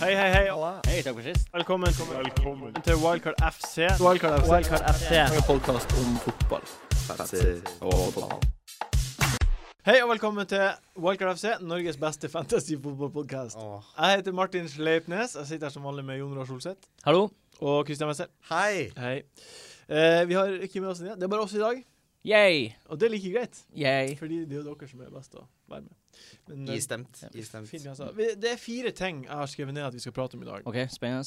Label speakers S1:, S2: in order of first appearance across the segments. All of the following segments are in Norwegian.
S1: Hei, hei, hei.
S2: Hei, takk for sist.
S1: Velkommen, til Wildcard FC.
S3: Wildcard FC.
S2: Wildcard FC.
S3: En podkast om fotball.
S1: Hei og velkommen til Wildcard FC, Norges beste fantasy-fotballpodkast. Jeg heter Martin Sleipnes. Jeg sitter her som vanlig med Jon Roar Solseth
S2: Hallo.
S1: og Christian Wessel.
S4: Hei!
S1: Hei. Eh, vi har ikke med oss igjen. Det er bare oss i dag,
S2: Yay.
S1: og det er like greit.
S2: Yay.
S1: Fordi det er jo dere som er best å være med. Men, eh,
S4: Istemt. Istemt.
S1: fint, altså. Vi- Det er fire ting jeg har skrevet ned at vi skal prate om i dag.
S2: OK, spennende.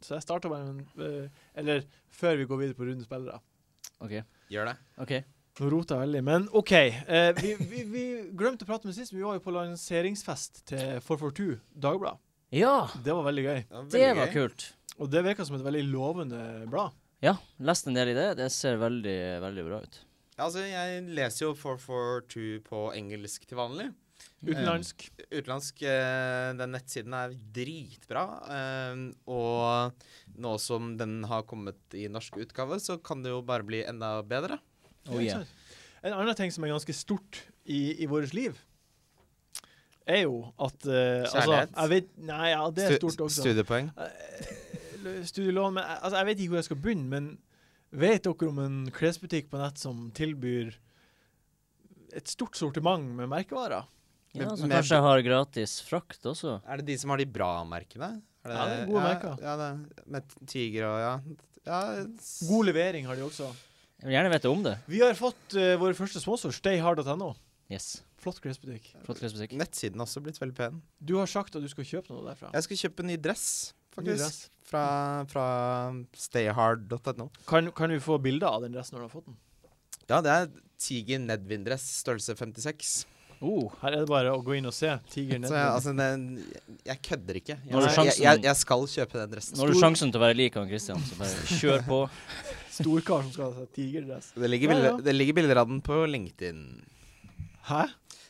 S1: Så jeg starter bare med en, eh, Eller før vi går videre på rundens spillere.
S2: OK.
S4: Gjør det.
S2: ok.
S1: Nå roter jeg veldig, men OK. Eh, vi, vi, vi glemte å prate med sist, men vi var jo på lanseringsfest til 442 Dagbladet.
S2: Ja,
S1: Det var veldig gøy.
S4: var veldig
S2: det var
S4: gøy.
S2: kult.
S1: Og det virka som et veldig lovende blad.
S2: Ja, lest en del i det. Det ser veldig, veldig bra ut.
S4: Ja, Altså, jeg leser jo 442 på engelsk til vanlig.
S1: Utenlandsk.
S4: Utenlandsk eh, Den nettsiden er dritbra. eh, Og nå som den har kommet i norsk utgave, så kan det jo bare bli enda bedre.
S2: Oh, yeah.
S1: En annen ting som er ganske stort i, i vårt liv, er jo at eh, altså,
S4: Kjærlighet.
S1: jeg vet, Nei, ja, det er stort også.
S4: Studiepoeng.
S1: Eh, Studielån men, jeg- altså, Jeg vet ikke hvor jeg skal begynne, men vet dere om en klesbutikk på nett som tilbyr et stort sortiment med merkevarer?
S2: Ja, så
S4: Men-
S2: kanskje jeg har gratis frakt også.
S4: Er det de som har de bra merkene? Er
S1: Ja, det er gode
S4: ja,
S1: merker.
S4: Ja, det er, med tiger og ja. ja s-
S1: God levering har de også.
S2: Jeg vil gjerne vite om det.
S1: Vi har fått eh, vår første sponsor, stayhard.no.
S2: Yes.
S1: Flott klesbutikk.
S2: Flott klesbutikk.
S4: Nettsiden har også blitt veldig pen.
S1: Du har sagt at du skal kjøpe noe derfra.
S4: Jeg skal kjøpe en ny dress,
S1: Ny
S4: faktisk.
S1: dress.
S4: Fra, fra stayhard.no.
S1: Kan, kan vi få bilder av den dressen når du har fått den?
S4: Ja, det er Tiger Nedvin-dress, størrelse 56.
S1: Oh, her er det bare å gå inn og se. Tiger
S4: Så
S1: Nedvin.
S4: jeg, altså, den, jeg kødder ikke.
S2: Nå har
S4: Jeg,
S1: du
S4: jeg,
S2: sjansen.
S4: jeg, jeg skal kjøpe den dressen.
S2: Nå har du sjansen til å være lik han Christian, så bare kjør på.
S1: Storkar som skal ha seg tigerdress.
S4: Det ligger,
S1: Ja,
S4: bilder,
S1: ja.
S4: det ligger bilder av den på LinkedIn.
S1: Hæ?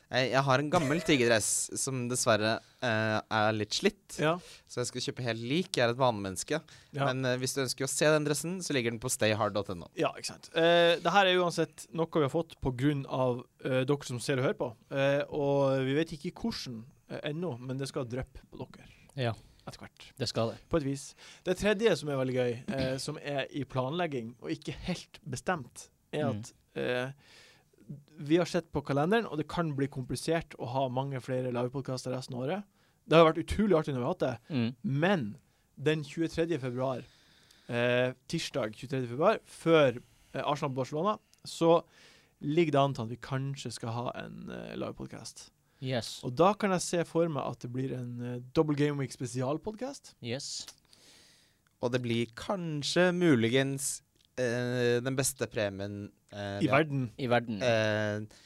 S4: Jeg, jeg har en gammel tigerdress som dessverre eh, er litt slitt,
S1: Ja.
S4: så jeg skal kjøpe helt lik. Jeg er et vanemenneske.
S1: Ja,
S4: Men eh, hvis du ønsker å se den dressen, så ligger den på stayhard.no.
S1: ja ikke sant. Eh, det her er uansett noe vi har fått pga. Uh, dere som ser og hører på. Eh, og vi vet ikke hvordan eh, ennå, men det skal dryppe på dere
S2: Ja,
S1: etter hvert.
S2: det skal det.
S1: På et vis. Det tredje som er veldig gøy, eh, som er i planlegging og ikke helt bestemt, er at eh, vi har sett på kalenderen, og det kan bli komplisert å ha mange flere livepodkaster resten av året. Det har vært utrolig artig når vi har hatt det,
S2: Mm.
S1: men den 23. februar, eh, tirsdag 23. februar, før eh, Arsenal-Barcelona, så ligger det an til at vi kanskje skal ha en eh, livepodkast.
S2: Yes.
S1: Og da kan jeg se for meg at det blir en eh, Double Game Week spesialpodkast.
S2: Yes.
S4: Og det blir kanskje muligens eh, den beste premien eh, vi
S1: I
S4: har-
S1: verden.
S2: I verden.
S4: Eh,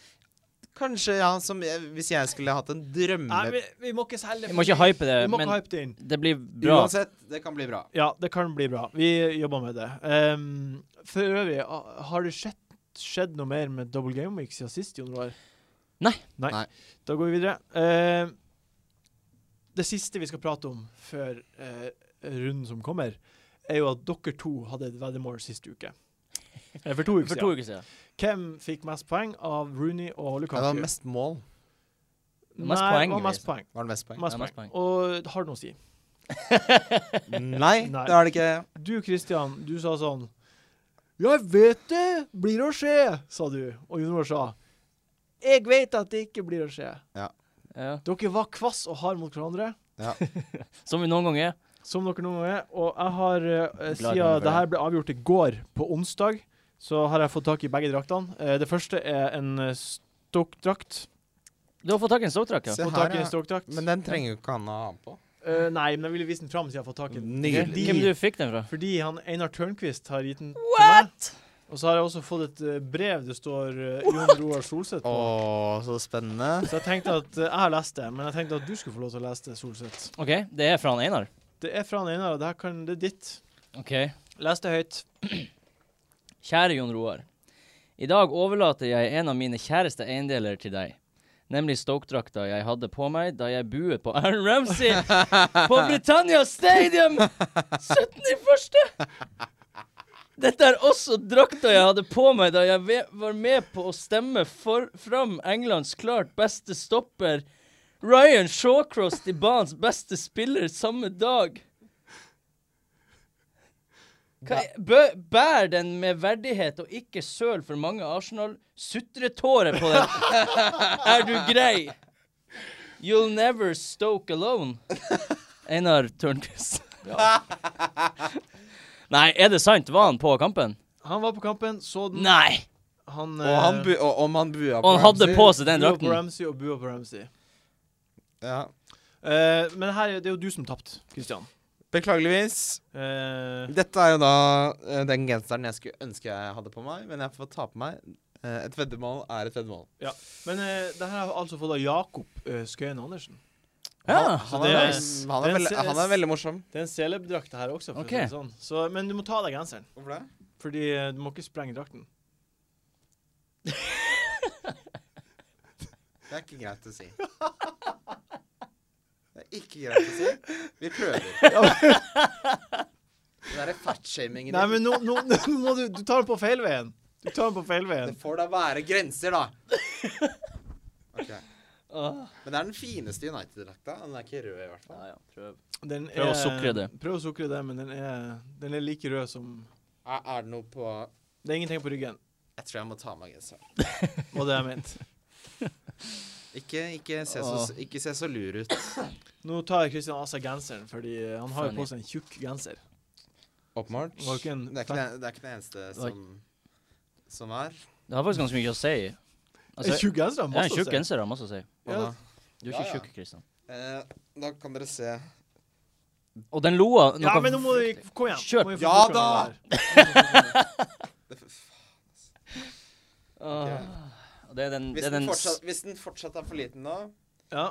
S4: kanskje, ja, som jeg, hvis jeg skulle hatt en drømme
S1: Nei, vi, vi må ikke selge
S2: Vi må ikke hype det,
S1: Vi må
S2: men
S1: ikke hype det inn.
S2: det blir bra.
S4: Uansett, det kan bli bra.
S1: Ja, det kan bli bra. Vi jobber med det. Ehm, for øvrig, a- har det skjedd, skjedd noe mer med Double Game Week siden sist, Jon Roar?
S2: Nei.
S1: Nei.
S4: Nei.
S1: Da går vi videre. Ehm, det siste vi skal prate om før eh, runden som kommer, er jo at dere to hadde et veddemål sist uke. Eller for to uker
S2: For to
S1: siden.
S2: uker siden.
S1: Hvem fikk mest poeng av Rooney og
S4: Det var
S1: Lukaku?
S4: mest mål.
S1: Nei,
S2: Mest poeng,
S1: det var mest
S2: liksom.
S1: poeng.
S4: Var det mest poeng?
S1: Mest
S2: Ja, mest
S1: poeng. Og har det noe å si?
S4: Nei,
S1: Nei.
S4: det er det ikke.
S1: Du, Kristian, du sa sånn Jeg vet det blir å skje, sa du. Og Jonor sa Jeg vet at det ikke blir å skje.
S2: Ja.
S1: Dere var kvass og hard mot hverandre,
S2: Som vi noen ganger er.
S1: som dere noen gang er. Og jeg har, eh,
S2: Glad i hverandre for
S1: siden det her ble avgjort i går, på onsdag, så har jeg fått tak i begge draktene. Eh, det første er en eh, stokdrakt.
S2: Du har fått tak i en ståltrakk, ja.
S4: Se
S1: Fått
S4: her,
S1: tak i
S4: ja.
S1: en stokdrakt.
S4: Men den trenger jo ikke han å ha på.
S1: Eh, nei, men jeg ville vise den fram siden jeg har fått tak i den.
S4: Nydelig.
S1: Fordi-
S2: Hvem du fikk den fra?
S1: Fordi han Einar Tørnquist har gitt den til meg.
S2: What?!
S1: Og så har jeg også fått et eh, brev det står eh, Jon Roar Solseth
S4: Å,
S1: på.
S4: så spennende.
S1: Så jeg tenkte at eh, Jeg har lest det, men jeg tenkte at du skulle få lov til å lese det, Solseth.
S2: OK, det er fra han Einar.
S1: Det er fra han Einar, og det her kan det er ditt.
S2: OK.
S1: Les det høyt.
S2: Kjære Jon Roar. I dag overlater jeg en av mine kjæreste eiendeler til deg. Nemlig Stoke-drakta jeg hadde på meg da jeg buet på Aaron Ramsey på Britannia Stadium 17.1. Dette er også drakta jeg hadde på meg da jeg ve- var med på å stemme for, fram Englands klart beste stopper Ryan Shawcross til banens beste spiller samme dag. Hva, er- bø, bær den med verdighet og ikke søl for mange Arsenal-sutretårer på den. er du grei? You'll never stoke alone. Einar Tørnquist. Nei, er det sant? Var han på kampen?
S1: Han var på kampen, så den.
S2: Nei!
S1: Han, eh,
S4: Og, han bu og om han bua
S2: Og han hadde
S4: Ramsey.
S2: på seg den
S1: bua på
S2: drakten.
S1: Ramsey og bua på Ramsey.
S4: ja.
S1: Eh, men her, er- det er jo du som tapte, Christian.
S4: Beklageligvis.
S1: Eh,
S4: Dette er jo da eh, den genseren jeg skulle ønske jeg hadde på meg, men jeg får ta på meg. Eh, Et veddemål er et veddemål.
S1: men eh, det her har jeg altså fått av Jakob eh, Skøyen Andersen.
S2: Ja,
S4: han, han,
S1: det
S4: er,
S1: er-
S4: veldig- han, er
S1: den
S4: veldig,
S1: ses-
S4: han er veldig morsom.
S1: Det er en celebdrakt her også, for å
S2: Ok.
S1: si det sånn. Så, men du må ta av deg genseren,
S4: Hvorfor det?
S1: fordi eh, du må ikke sprenge drakten.
S4: Det er ikke greit å si. Det er ikke greit å si. Vi prøver. Den derre fatshamingen
S1: Nei,
S4: din.
S1: men nå, nå, nå må du Du tar den på feilveien. Du tar den på feilveien.
S4: Det får da være grenser, da. Ok.
S2: Åh.
S4: Men det er den fineste United-drakta. Den er ikke rød, i hvert fall.
S2: Ja, ja, prøv.
S1: Den
S2: Prøv å sukre det.
S1: Prøv å sukre det, men den er, den er like rød som
S4: Er, er det noe på Jeg
S1: Det er ingenting på ryggen,
S4: tror jeg må ta av meg genseren.
S1: var det jeg mente.
S4: Ikke, ikke, se så,
S2: Åh.
S4: ikke se så lur ut.
S1: Nå tar Christian av seg genseren, fordi eh, han har jo
S2: Funny.
S1: på seg en tjukk genser.
S4: Åpenbart.
S1: Var ikke en-
S4: Det er ikke det, det er ikke det eneste
S2: Oi.
S4: som, som er.
S2: Det har faktisk ganske mye å si.
S1: En
S2: Altså,
S1: tjukk genser har
S2: ja, en
S1: masse å
S2: tjukk
S1: si.
S2: genser har masse å si.
S4: Og
S1: Ja.
S4: da-
S2: Du er
S4: Ja,
S2: ikke
S4: ja.
S2: tjukk, Kristian.
S4: Eh, da kan dere se
S2: Og den loa noe
S1: Ja, men nå må vi
S2: fryktelig.
S1: Kom igjen.
S2: Kjør.
S1: Må vi få
S4: Ja
S1: bort
S4: da!
S1: den der.
S2: Åh. Og Ah, Det er den,
S4: Hvis
S2: det er
S4: den,
S2: den s-
S4: fortsatt, hvis den fortsatt er for liten nå,
S1: Ja,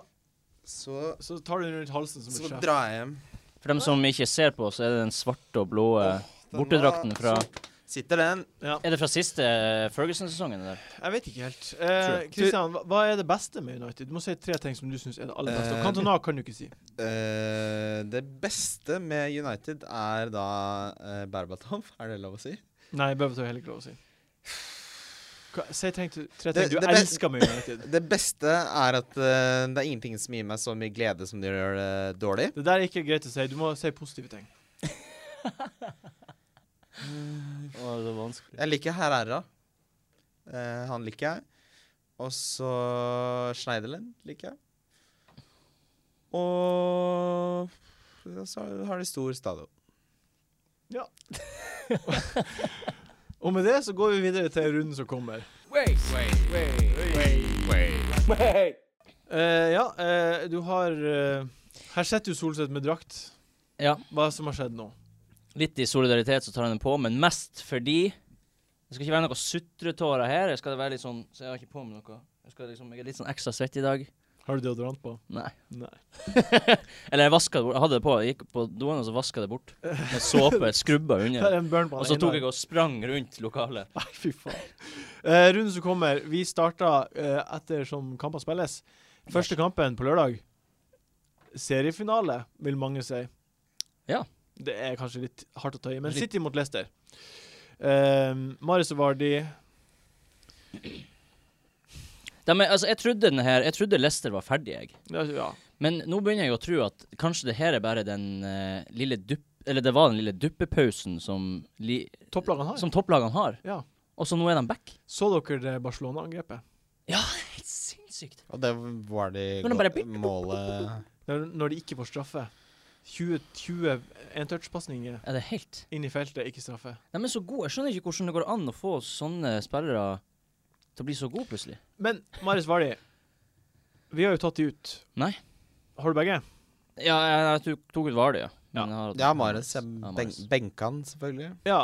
S4: så,
S1: så tar du den rundt halsen som
S4: så
S1: et sjef.
S4: drar jeg hjem.
S2: For dem som ikke ser på, så er det den svarte og blå eh,
S4: Den
S2: bortedrakten
S4: var-
S2: fra
S4: Sitter den.
S1: Ja.
S2: Er det fra siste eh, Ferguson-sesongen? det der?
S1: Jeg vet ikke helt. Eh,
S4: Sure.
S1: Christian, hva- hva er det beste med United? Du må si tre ting som du syns er det aller beste.
S4: Eh,
S1: Og Cantona kan du ikke si.
S4: Eh, det beste med United er da uh, Berbatov, er det lov å si?
S1: Nei, Bevertøy er heller ikke lov å si. Hva- Si tre ting tre ting
S4: Det-
S1: du
S4: det be-
S1: elsker med United.
S4: Det beste er at eh, det er ingenting som gir meg så mye glede som det gjør det dårlig.
S1: Det der er ikke greit å si. Du må si positive ting.
S2: Å, det var vanskelig.
S4: Jeg liker Herrera. Eh, han liker jeg. Og så Schneiderlin liker jeg. Og så har de stor stadion.
S1: Og med det så går vi videre til runden som kommer. Eh, ja, eh, du har eh, Her sitter jo Solseth med drakt.
S2: Ja.
S1: Hva som har skjedd nå?
S2: Litt i solidaritet så tar han den på, men mest fordi Det skal ikke være noe sutretårer her. Jeg skal være litt sånn Så jeg har ikke på meg noe. Jeg, skal liksom, jeg er litt sånn ekstra svett i dag.
S1: Har du deodorant på?
S2: Nei.
S1: Nei.
S2: Eller jeg vasket det bort. Jeg hadde det på. Jeg gikk på doen, og så vasket jeg det bort. Med såpe. Skrubba
S1: Det er
S2: under.
S1: en burn på han
S2: Og så
S1: ene.
S2: tok jeg og sprang rundt lokalet.
S1: Nei, fy faen. Eh, runden som kommer, vi starter eh, etter som kamper spilles. Første kampen på lørdag. Seriefinale, vil mange si.
S2: Ja.
S1: Det er kanskje litt hardt å ta i, men
S2: Litt.
S1: City mot Leicester. Eh, Marius og Vardi
S2: De er, altså, jeg trodde den her Jeg trodde Leicester var ferdig, jeg.
S1: ja, ja.
S2: Men nå begynner jeg å tro at kanskje det her er bare den eh, lille dupp... Eller det var den lille duppepausen som, li,
S1: Topplagene har.
S2: som topplagene har.
S1: Ja.
S2: Og så nå er de back.
S1: Så dere det Barcelona-angrepet?
S2: Helt sinnssykt.
S4: Og det var de
S2: Men det bare-
S4: målet
S1: Når, når de ikke får straffe. 20, 20 entouch-pasninger
S2: Er det helt
S1: inn i feltet, ikke straffe.
S2: De er så gode. Jeg skjønner ikke hvordan det går an å få sånne spillere til å bli så gode plutselig.
S1: Men Marius Vardi, vi har jo tatt de ut.
S2: Nei.
S1: Har du begge?
S2: Ja, jeg, jeg tok, tok ut Vardø, ja.
S1: Ja.
S2: Men jeg har hatt-
S4: Ja, Marius. Jeg
S2: Ja,
S4: ben
S2: Marius.
S4: benka han, selvfølgelig.
S1: Ja,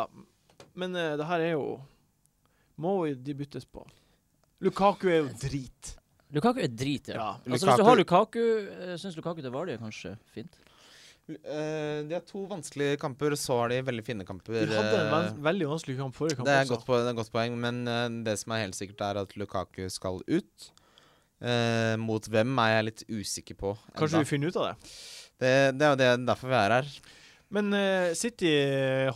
S1: men eh, det her er jo Må jo de byttes på. Lukaku er jo drit.
S2: Lukaku er drit, ja.
S1: Ja.
S2: Altså, hvis du har Lukaku, eh, syns Lukaku til Vardø er kanskje fint.
S4: Eh, de har to vanskelige kamper, og så har de veldig fine kamper.
S1: De hadde en
S4: eh,
S1: vans- veldig vanskelig kamp forrige kamp
S4: det er et
S1: også.
S4: godt, po- det er et godt poeng, men eh, det som er helt sikkert, er at Lukaku skal ut. Eh, mot hvem er jeg litt usikker på.
S1: Kanskje
S4: enda.
S1: vi finner ut av det.
S4: Det, det er jo det, derfor vi er her.
S1: Men eh, City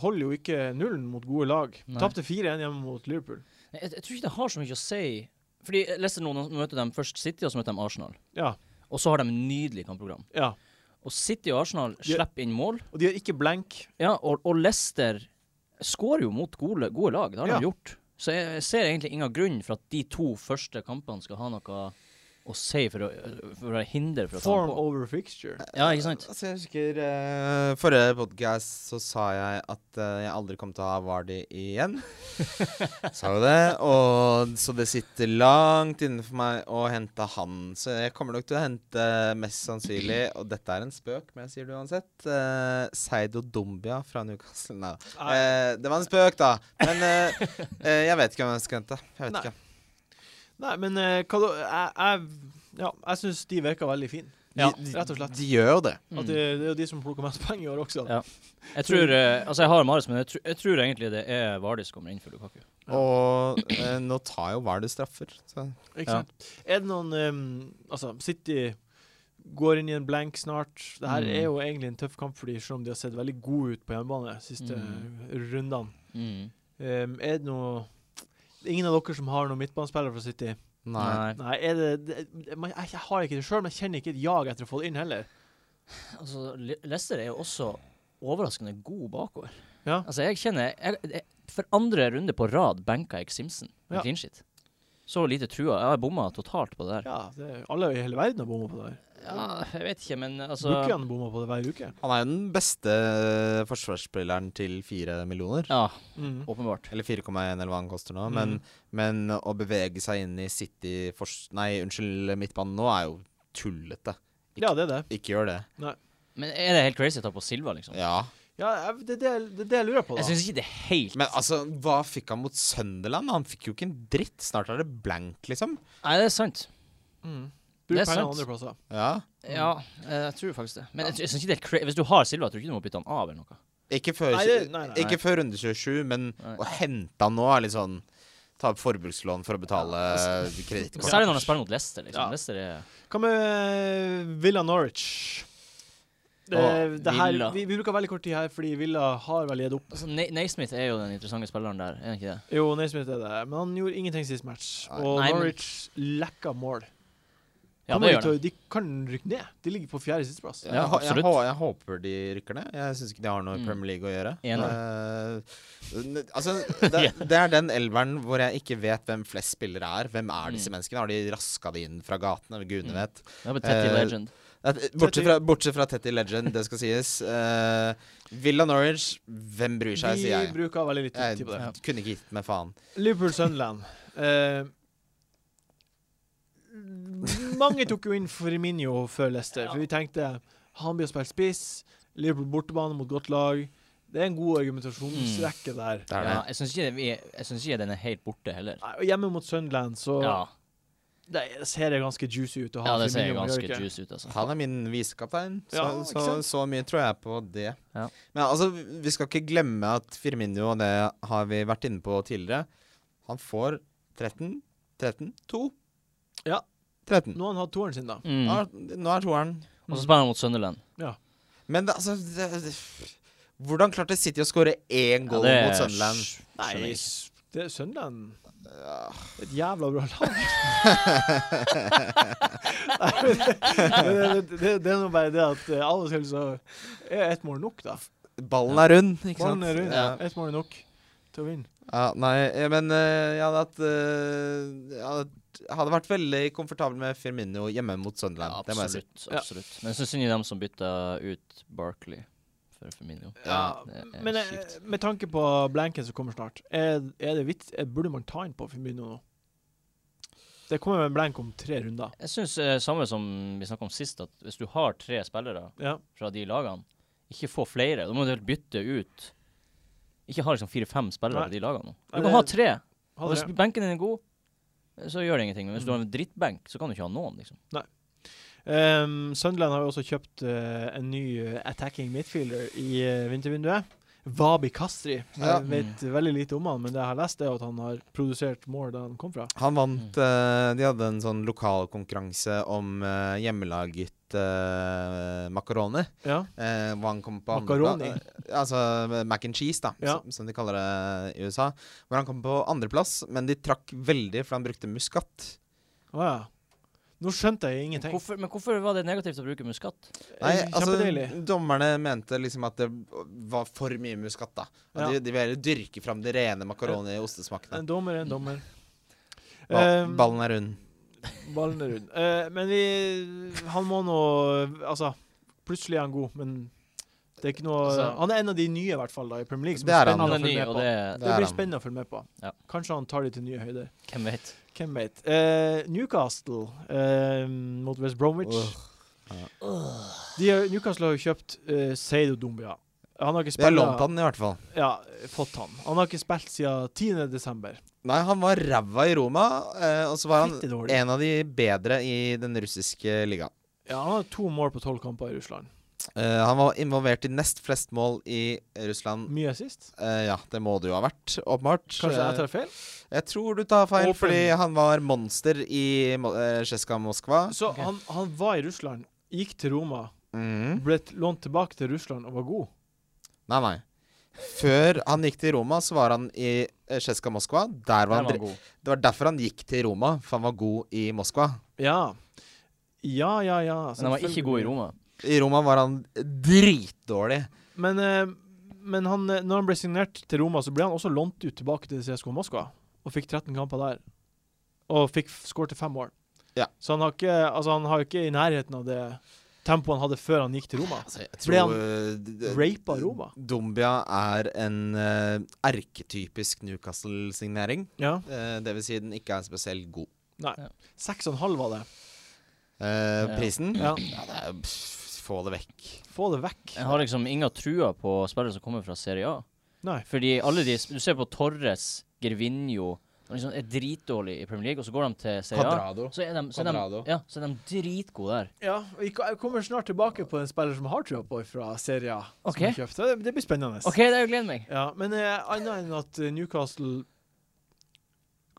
S1: holder jo ikke nullen mot gode lag.
S2: Nei.
S1: Tapte 4-1 hjemme mot Liverpool.
S2: Nei, Jeg, jeg tror ikke det har så mye å si. Fordi jeg leste nå, nå møter de først City, og så møter de Arsenal.
S1: Ja.
S2: Og så har de nydelig kampprogram.
S1: Ja.
S2: Og City og Arsenal
S1: Ja.
S2: slipper inn mål.
S1: Og de har ikke blank.
S2: Ja, og, og Leicester skårer jo mot gode, gode lag. Det har
S1: Ja.
S2: de gjort. Så jeg, jeg ser egentlig ingen grunn for at de to første kampene skal ha noe å si for å, for å hindre for å ta
S1: Form
S2: dem på. Eh,
S1: over fixture.
S2: Ja, ikke sant?
S4: Altså, jeg husker eh, Forrige podcast så sa jeg at eh, jeg aldri kom til å ha Vardy igjen. sa jo det. Og så det sitter langt innenfor meg å hente han. Så jeg kommer nok til å hente eh, mest sannsynlig, og dette er en spøk, men jeg sier det uansett, eh, Seido Dumbia fra Newcastle. Nei. Eh, det var en spøk, da. Men eh, eh, jeg vet ikke hvem jeg skal hente. Jeg vet
S1: Nei.
S4: ikke.
S1: Nei, men eh, hva da Jeg, jeg, ja, jeg syns de virker veldig fine.
S2: Ja,
S4: de,
S1: rett og slett.
S4: De gjør jo det.
S1: At det, det er jo de som plukker mest poeng i år også.
S2: Ja. Mm. Jeg tror, eh, altså jeg har Marius, men jeg, tr jeg tror egentlig det er Vardis som kommer inn for Lukaku.
S1: Ja.
S4: Og eh, nå tar jo Vardy straffer. Så.
S1: Ikke
S2: Ja.
S1: sant? Er det noen eh, Altså, City går inn i en blank snart. Det her
S2: Mm.
S1: er jo egentlig en tøff kamp for dem, selv om de har sett veldig gode ut på hjemmebane de siste
S2: Mm.
S1: eh, rundene. Um, er det noe Ingen av dere som har noen midtbanespillere fra City?
S4: Nei.
S1: Nei, er det, det det- man, Jeg jeg har ikke det sjøl, men jeg kjenner ikke et jag etter å få det inn heller.
S2: Altså, Le- Leicester er jo også overraskende god bakover.
S1: Ja.
S2: Altså, jeg kjenner jeg, jeg, For andre runde på rad benka jeg Simpson med
S1: Ja.
S2: clean shit. Så lite trua. Jeg har bomma totalt på det der.
S1: Ja, det, er- Alle i hele verden har bomma på det der.
S2: Ja, jeg vet ikke, men altså
S1: Bukken bommer på det hver uke.
S4: Han er jo den beste forsvarsspilleren til fire millioner.
S2: Ja,
S1: Mm.
S2: åpenbart.
S4: Eller 4,1 eller hva han koster nå.
S1: Mm.
S4: Men, men å bevege seg inn i City fors... Nei, unnskyld, midtbanen nå er jo tullete.
S1: Ja, det er det.
S4: Ikke gjør det.
S2: Men er det helt crazy å ta på Silva, liksom?
S4: Ja.
S1: Ja, jeg, det, er det, det er det jeg lurer på, da.
S2: Jeg syns ikke det er helt
S4: Men altså, hva fikk han mot Sunderland? Han fikk jo ikke en dritt. Snart er det blank, liksom.
S2: Nei, det er sant.
S1: mm.
S2: Det er
S1: Bruk pengene
S2: sant.
S1: andre plasser.
S4: Ja.
S2: Ja, eh, jeg tror faktisk det. Men jeg, jeg synes ikke det er cra Hvis du har Silva, tror jeg ikke du må bytte han av eller noe.
S4: Ikke før,
S1: Nei, det- nei, nei.
S4: Ikke før runde 27, men
S2: Nei.
S4: å hente han nå er litt sånn Ta opp forbrukslån for å betale kredittkort.
S2: Særlig når han spiller mot Leicester, liksom.
S1: Ja.
S2: Leicester er
S1: Hva med eh, Villa Norwich? Det,
S2: Å,
S1: det her,
S2: Villa.
S1: vi, vi bruker veldig kort tid her fordi Villa har vel gitt opp.
S2: Altså, Na- Naismith er jo den interessante spilleren der, er han ikke det?
S1: Jo, Naismith er det, men han gjorde ingenting sist match.
S4: Nei.
S1: Og
S2: Nei, men-
S1: Norwich lekka mål.
S2: Ja,
S1: Kommer
S2: det
S1: de
S2: gjør
S1: til
S2: han.
S1: å- De kan rykke ned. De ligger på fjerde sisteplass.
S4: Ja,
S2: Ja,
S4: jeg, hå- jeg,
S2: absolutt.
S4: hå- jeg håper de rykker ned. Jeg syns ikke de har noe i
S2: Mm.
S4: Premier League å gjøre.
S2: Enig.
S4: Eh, n- altså, det, det er den elveren hvor jeg ikke vet hvem flest spillere er. Hvem er disse
S2: Mm.
S4: menneskene? Har de raska de inn fra gatene? Gudene
S2: Mm.
S4: vet.
S2: Det er bare Tetty
S4: Eh,
S2: Legend.
S4: Eh, Bortsett fra, bortsett fra Tetty Legend, det skal sies. Eh, Villa Norwich, hvem bryr seg,
S1: Vi
S4: sier jeg.
S1: bruker veldig litt
S4: Jeg
S1: tid på det.
S4: kunne ikke gitt meg faen.
S1: Liverpool-Sunderland. Eh, mange tok jo inn Firmino før Leicester, for vi tenkte han blir å spille spiss. Liverpool bortebane mot godt lag. Det er en god argumentasjonsrekke der.
S4: Det er
S2: Ja,
S4: det.
S2: jeg syns ikke, det- vi- jeg synes ikke den er helt borte heller.
S1: Nei, Og hjemme mot Sunderland, så
S2: Ja,
S1: det ser det ganske juicy ut å ha
S2: ja det ser
S1: Firmino. gjør
S2: ganske
S1: det ikke?
S2: juice ut, altså.
S4: Han er min visekaptein, så,
S1: Ja, ikke
S4: så,
S1: sant?
S4: så mye tror jeg på det.
S2: Ja.
S4: Men altså, vi skal ikke glemme at Firmino, og det har vi vært inne på tidligere, han får 13, 13, 2.
S1: Ja.
S4: 13.
S1: Nå har han hatt toeren sin, da.
S2: Mm.
S4: Nå er, nå er toeren.
S2: Og så spiller han mot Sunderland.
S4: Men det, altså det, det, Hvordan klarte City å skåre én
S2: Ja,
S4: goal
S2: det
S4: mot Sunderland?
S2: sk- skjønner
S1: Nei,
S2: jeg ikke.
S1: s- det er Sunderland Et jævla bra lag. Nei, men det, det, det, det er nå bare det at eh, av og til så er ett mål nok, da.
S4: Ballen er rund, ikke sant?
S1: Ballen er rund.
S4: Ja.
S1: Ett mål er nok til å vinne.
S4: Ja, nei, eh, men eh, jeg hadde hatt eh, jeg hadde, jeg hadde vært veldig komfortabel med Firmino hjemme mot Sunderland.
S2: Ja,
S4: det må jeg si.
S2: absolutt. absolutt. Men så synd i dem som bytta ut Barkley for Firmino.
S1: Ja,
S2: det er
S1: men eh,
S2: kjipt.
S1: med tanke på blanken som kommer snart, er, er det vits, eh, burde man ta inn på Firmino nå? Det kommer jo en blank om tre runder.
S2: Jeg syns eh, samme som vi snakka om sist, at hvis du har tre spillere
S1: Ja.
S2: fra de lagene. Ikke få flere. Da må du helt bytte ut. Ikke ha liksom fire-fem spillere
S1: Nei.
S2: på de lagene. nå.
S1: Nei,
S2: Du kan
S1: det-
S2: ha tre.
S1: Ha
S2: Og hvis
S1: det.
S2: benken din er god, så gjør det ingenting. Men hvis du
S1: Mm.
S2: har en drittbenk, så kan du ikke ha noen, liksom.
S1: Um, Sunderland har jo også kjøpt eh, en ny eh, attacking midfielder i eh, vintervinduet. Vabi Kastri.
S4: Ja.
S1: Jeg vet veldig lite om han, men det jeg har lest, er at han har produsert mål der han kom fra.
S4: Han vant
S1: Mm.
S4: eh, De hadde en sånn lokalkonkurranse om eh, hjemmelaget eh, makaroni.
S1: Ja.
S4: eh, hvor han kom på andre
S1: Makaroni?
S4: pla- eh, altså mac and cheese, da,
S1: Ja.
S4: som, som de kaller det i USA. Hvor han kom på andreplass, men de trakk veldig, for han brukte muskat.
S1: Å ja. Nå skjønte jeg ingenting.
S2: Hvorfor, men hvorfor var det negativt å bruke muskat?
S4: Nei, altså,
S1: Eh, Kjempedeilig.
S4: dommerne mente liksom at det var for mye muskat, da. At
S1: Ja.
S4: de, de ville heller dyrke fram det rene makaroni- og ostesmakene.
S1: En dommer er en dommer.
S4: Ba-
S1: Eh,
S4: Ballen er rund.
S1: Ballen er rund. Eh, men vi Han må nå Altså, plutselig er han god, men det er ikke noe
S2: Altså-
S1: Han er en av de nye, i hvert fall, da, i Premier League. som
S4: Det er han.
S1: spennende å
S2: Han er ny,
S1: følge med
S2: og
S1: på.
S2: det
S4: Det
S1: Det
S4: er
S1: blir
S4: han.
S1: spennende å følge med på.
S2: Ja.
S1: Kanskje han tar de til nye høyder.
S2: Hvem vet?
S1: Hvem vet. Eh, Newcastle eh, mot West Bromwich.
S4: Åh.
S1: De har, Newcastle har jo kjøpt eh, Seido Dumbia. Han har ikke
S4: Vi har
S1: spilt
S4: lånt han, i hvert fall.
S1: Ja, fått han. Han har ikke spilt siden 10. desember.
S4: Nei, han var ræva i Roma, eh, og så var han
S1: Fitte dårlig.
S4: en av de bedre i den russiske ligaen.
S1: Ja, han har to mål på tolv kamper i Russland.
S4: Eh, han var involvert i nest flest mål i Russland.
S1: Mye sist.
S4: Eh, ja, det må det jo ha vært, åpenbart.
S1: Kanskje jeg tar feil?
S4: Eh, jeg tror du tar feil,
S1: Åpen.
S4: fordi han var monster i Mo- eh, Cska Moskva.
S1: Så
S2: Ok.
S1: han, han var i Russland, gikk til Roma,
S4: Mhm.
S1: ble t- lånt tilbake til Russland og var god.
S4: Nei, nei. Før han gikk til Roma, så var han i Cska Moskva. Der var
S2: Den
S4: han
S2: var
S4: dri
S2: god.
S4: det var derfor han gikk til Roma, for han var god i Moskva.
S1: Ja. Ja, ja, ja.
S2: Men han var ikke god i Roma.
S4: I Roma var han dritdårlig.
S1: Men, eh, men han, eh, når han ble signert til Roma, så ble han også lånt ut tilbake til CSKA Moskva. Og fikk 13 kamper der. Og fikk f- skåret til fem mål.
S4: Ja.
S1: Så han har ikke altså han har ikke i nærheten av det tempoet han hadde før han gikk til Roma.
S4: Altså, jeg
S1: Ble han
S4: eh, d- d-
S1: Rapa Roma.
S4: Dombia er en eh, erketypisk Newcastle-signering.
S1: Ja.
S4: Eh, det vil si den ikke er spesielt god.
S1: Seks og en halv var det.
S4: Eh,
S2: Ja.
S4: Prisen?
S1: Ja.
S4: det er, pff, få det vekk.
S1: Få det vekk.
S2: Jeg har liksom inga trua på spillere som kommer fra Serie A.
S1: Nei.
S2: Fordi alle de Du ser på Torres, Gervinho De liksom er dritdårlig i Premier League, og så går de til Serie A. Så er de, så er de,
S4: Quadrado.
S2: ja, så er de dritgode der.
S1: Ja, vi ko- jeg kommer snart tilbake på en spiller som jeg har trua på fra Serie A. som
S2: Ok.
S1: jeg kjøpte. Det, det blir spennende.
S2: OK, det er jo gleder meg.
S1: Ja, men eh, annet enn at eh, Newcastle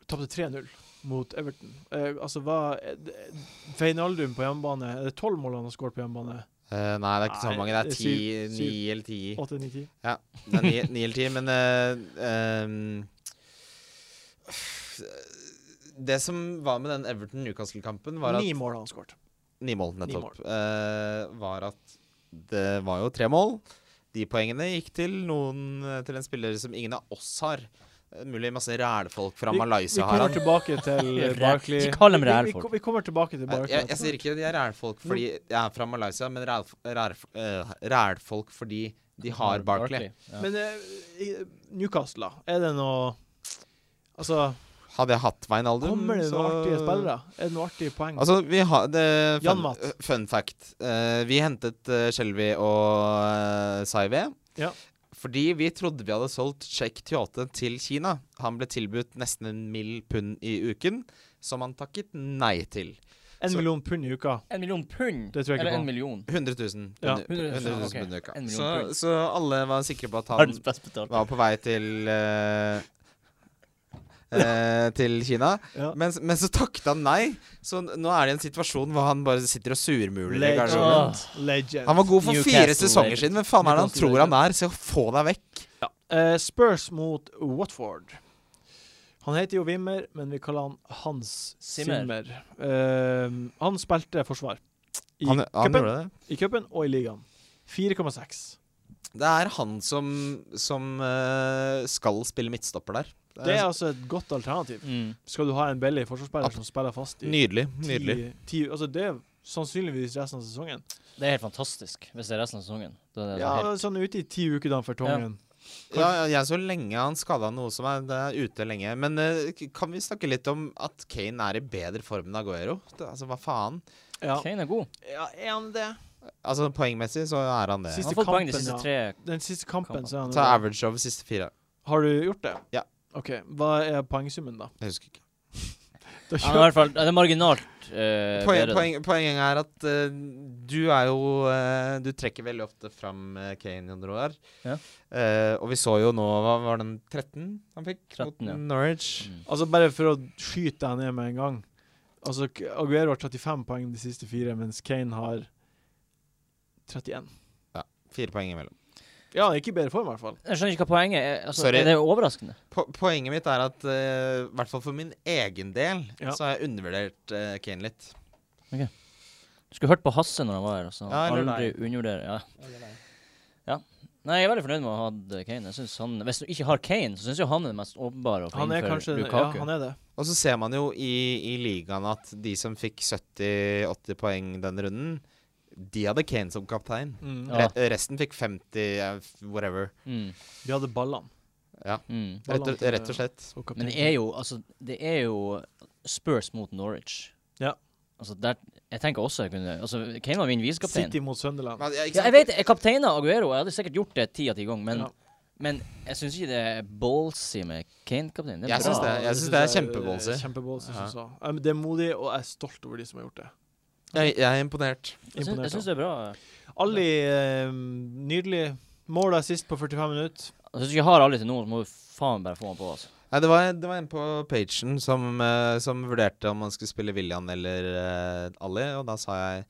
S1: tapte 3-0 mot Everton. Eh, altså, hva eh, d- Feinaldum på hjemmebane Er det tolv mål han har skåret på hjemmebane?
S4: Eh, nei, det er ikke så
S1: Nei,
S4: mange. Det
S1: det
S4: er
S1: er
S4: ti,
S1: syv- syv.
S4: ni eller ti.
S1: Åtte, ni, ti?
S4: Ja, det er ni, ni eller ti, men eh, ehm, Det som var med den Everton-Newcastle-kampen, var at
S1: Ni mål har han skåret.
S4: Ni mål,
S1: Ni
S4: nettopp. Eh, var at det var jo tre mål. De poengene gikk til noen eh, Til en spiller som ingen av oss har. Eh, Mulig masse rælfolk fra
S1: Vi-
S4: Malaysia
S1: vi
S4: har
S1: kommer
S4: han.
S1: tilbake til eh,
S2: Ræ-
S1: Barkley.
S2: Ikke kall dem
S1: Vi- vi-
S2: ræl, folk.
S1: Vi, kommer tilbake til
S4: Nei,
S1: Barkley.
S4: Eh, Jeg, jeg sier ikke de er rælfolk fordi jeg er fra Malaysia, men rælf- rælf- eh, rælfolk fordi de har Barkley.
S2: Ja.
S1: Men eh, i- Newcastle, da. Er det noe Altså,
S4: Hadde jeg hatt Wijnaldum,
S1: kommer det noen artige spillere? Er det noen artige poeng?
S4: Altså, vi har det,
S1: Jan
S4: fun,
S1: Matt.
S4: eh, fun fact. Eh, vi hentet uh, Shelby og uh, Saive.
S1: Ja.
S4: Fordi vi trodde vi hadde solgt Sheikh Tyote til Kina. Han ble tilbudt nesten en mill pund i uken, som han takket nei til.
S1: En
S4: så-
S1: million pund i uka.
S2: En million pund?
S1: Det tror jeg ikke på.
S2: Eller en million?
S4: 100 000
S1: Ja.
S4: pund
S2: 100
S4: i-
S2: 000,
S4: 100 000
S2: ok.
S4: pund i uka.
S2: En million
S4: Så,
S2: pund.
S4: så alle var sikre på at han
S2: best betalte.
S4: var på vei til eh, eh, til Kina.
S1: Ja.
S4: Men, men så takket han nei. Så nå er det en situasjon hvor han bare sitter og surmuler i
S1: Legend.
S4: garderoben.
S1: Legend.
S4: Han var god for fire
S2: Newcastle
S4: sesonger
S2: Legends.
S4: siden. Hvem faen er det han
S2: Newcastle
S4: tror han er? Så få deg vekk.
S1: Eh, Spurs mot Watford. Han heter jo Wimmer, men vi kaller han Hans
S2: Zimmer.
S1: Zimmer. Eh, han spilte forsvar i
S4: Han, han
S1: cupen
S4: gjorde det.
S1: i cupen og i ligaen. 4,6.
S4: Det er han som, som eh, skal spille midtstopper der. Det er
S1: Det er altså et godt alternativ.
S2: Mm.
S1: Skal du ha en billig forsvarsspiller som spiller fast i
S4: nydelig.
S1: ti-
S4: Nydelig.
S1: ti- altså det er sannsynligvis resten av sesongen.
S2: Det er helt fantastisk, hvis det er resten av sesongen. Da er det
S1: Ja,
S2: helt,
S1: sånn ute i ti uker da for Tongen.
S4: Ja, ja, jeg så lenge han skada noe som er, det er ute lenge. Men eh, k- kan vi snakke litt om at Kane er i bedre form enn Aguero? Det, altså, hva faen?
S1: Ja.
S2: Kane er god.
S1: ja, er han det?
S4: Altså, Poengmessig så er han det.
S1: Siste
S2: Han har fått poeng de
S1: kampen,
S2: siste
S1: ja.
S2: tre.
S1: Den siste kampen,
S2: Kampen.
S1: så er han
S4: Ta average over siste fire.
S1: Har du gjort det?
S4: Ja.
S1: OK. Hva er poengsummen, da?
S4: Jeg husker ikke.
S1: Da
S2: Ja, men i hvert fall, det er marginalt eh,
S4: Poen,
S2: bedre.
S4: poen, poenget er at eh, du er jo eh, Du trekker veldig ofte fram eh, Kane, Jon Roar.
S2: Ja.
S4: Eh, og vi så jo nå Hva var den 13 han fikk?
S2: 13,
S4: mot
S2: ja.
S4: Norwich.
S2: Mm.
S1: Altså Bare for å skyte deg ned med en gang. Altså K- Aguero har 35 poeng de siste fire, mens Kane har 31.
S4: Fire poeng imellom.
S1: Ja, ikke i bedre form, i hvert fall.
S2: Jeg skjønner ikke hva poenget er. Altså,
S4: Sorry.
S2: er det er overraskende.
S4: Po poenget mitt er at eh, i hvert fall for min egen del
S1: Ja.
S4: så har jeg undervurdert eh, Kane litt.
S2: Skulle hørt på Hasse når han var her. Altså.
S4: Ja, eller
S2: Aldri undervurdere. Ja. Nei, jeg er veldig fornøyd med å ha hatt eh, Kane. Jeg synes han, hvis du ikke har Kane, så syns jeg han er den mest åpenbare. å få
S1: Han
S2: inn
S1: er
S2: for
S1: kanskje Ja,
S2: Lukaku.
S1: han er det.
S4: Og så ser man jo i, i ligaen at de som fikk 70-80 poeng denne runden, de hadde Kane som kaptein.
S1: Mm.
S2: Ja.
S4: Re resten fikk 50 eh, f- whatever.
S2: mm,
S1: De hadde ballene.
S4: Ja,
S2: mm.
S4: rett og, rett og slett.
S1: og kaptein.
S2: Men det er jo altså, Det er jo Spurs mot Norwich.
S1: Ja.
S2: Altså, der, jeg tenker også jeg kunne altså, Kane var min visekaptein.
S1: City mot Sunderland.
S4: Men, ja, ikke
S2: Ja, jeg
S4: sant?
S2: vet jeg kapteina Aguero. Jeg hadde sikkert gjort det ti av ti ganger, men,
S1: Ja.
S2: men jeg syns ikke det er ballsy med Kane-kaptein. Det er
S4: Jeg
S2: bra.
S4: synes det. jeg synes det er kjempeballsy.
S1: eh, kjempeballsy,
S4: Ja.
S1: synes jeg. Ja, men Det er modig, og jeg er stolt over de som har gjort det.
S4: Jeg, jeg er imponert.
S2: Jeg syns, jeg
S1: Imponert.
S2: syns det er bra.
S1: da. Ali, eh, nydelig. Måla sist på 45 minutter.
S2: Altså, hvis du ikke har alle til nå, så må du faen bare få han på. Altså.
S4: Nei, det var, det var en på pagen som, eh, som vurderte om man skulle spille William eller eh, Ali, og da sa jeg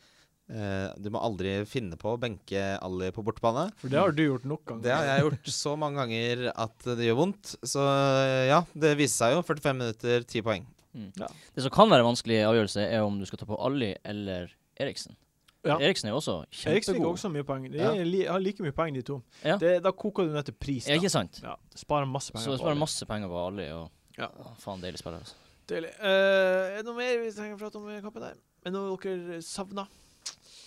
S4: eh, du må aldri finne på å benke Ali på bortebane.
S1: For det har du gjort nok ganger.
S4: Det har jeg gjort så mange ganger at det gjør vondt. Så eh, ja, det viser seg jo. 45 minutter, 10 poeng.
S2: Det som kan være en vanskelig avgjørelse, er om du skal ta på Ali eller Eriksen.
S1: Ja.
S2: Eriksen er jo også
S1: Eriksen fikk
S2: kjempegod.
S1: også mye poeng. De
S4: Ja.
S1: er li har like mye poeng, de to.
S2: Ja.
S1: Det, da koker du ned til pris.
S2: Ja,
S1: Da.
S2: ikke sant?
S1: Ja, sparer masse penger.
S2: Så jeg
S1: på
S2: sparer
S1: Ali.
S2: masse penger på Ali. Og
S1: Ja.
S2: Å, faen, deilig spiller. Altså.
S1: Deilig. Eh, er det noe mer vi trenger å prate om i kampen der? Er det noe dere savner?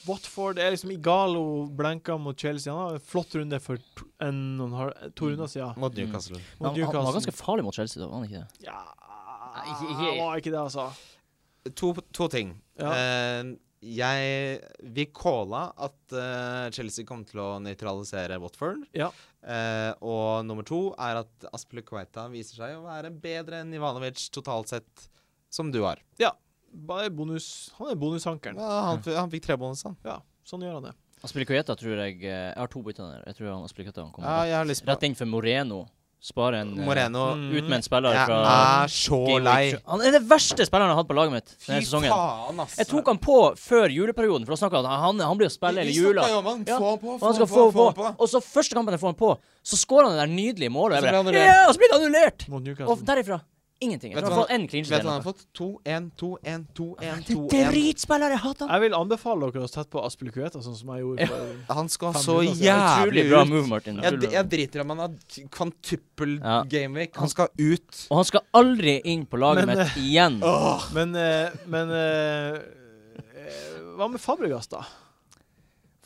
S1: Watford er liksom Igalo blenka mot Chelsea. Han har en flott runde for to, en, og en halv- to runder siden.
S4: Mot
S2: Mm.
S4: Newcastle.
S2: Men
S1: Mot
S2: Han, han var
S1: Newcastle.
S2: ganske farlig mot Chelsea, da, var han ikke det?
S1: Ja
S2: Nei, ikke- ikke-
S1: Var ikke det, altså.
S4: To, to ting.
S1: Ja.
S4: Eh, jeg Vi calla at eh, Chelsea kom til å nøytralisere Watford.
S1: Ja.
S4: Eh, og nummer to er at Aspelekueta viser seg å være bedre enn Ivanovic totalt sett, som du har.
S1: Bare bonus. Han er bonusankeren.
S4: Ja, han, f- han fikk tre bonus, han.
S1: Ja, sånn gjør han det.
S2: Aspilicueta tror jeg eh, Jeg har to bytter der. Jeg tror han Aspilicueta han kommer
S4: Ja,
S1: Ah,
S4: jeg har lyst
S2: rett-
S4: på
S2: rett inn for Moreno. Spare en eh,
S4: Moreno.
S1: Mm.
S2: ut med en spiller
S4: Jeg
S2: fra
S4: er så
S2: Game Week
S4: lei.
S2: tjue- Han er den verste spilleren jeg har hatt på laget mitt denne sesongen.
S4: faen, ass.
S2: Jeg tok han på før juleperioden, for da snakka han han, han blir å spille hele jula. Ja,
S4: Få han på,
S2: Og han skal få på. Og så første kampen jeg får han på, så skårer han det der nydelige målet.
S4: Og
S2: Jeg
S4: så
S2: bare,
S4: blir han
S2: ja, og så blir det annullert!
S1: Mot
S2: Og
S1: Newcastle.
S2: derifra ingenting. Jeg
S4: Vet
S2: tror
S4: du
S2: han
S4: hva-
S2: har fått én clean
S4: Vet du hva han har
S2: sheet.
S4: fått? 2-1, 2-1, 2-1,
S2: Dritspiller, jeg hater han!
S1: Jeg vil anbefale dere å sette på Aspelekueta, sånn som jeg gjorde. For,
S4: Han skal
S1: Faen,
S4: så
S1: Bruno, altså.
S4: jævlig
S2: Utrolig bra
S4: ut.
S2: move, Martin.
S4: Jeg,
S2: Utrolig bra.
S4: jeg driter i om han har t- kvantuppel
S2: Ja.
S4: gameweek. Han skal ut.
S2: Og han skal aldri inn på laget
S4: eh,
S1: Men,
S2: mitt igjen.
S1: men eh, men eh, eh, Hva med Fabregas, da?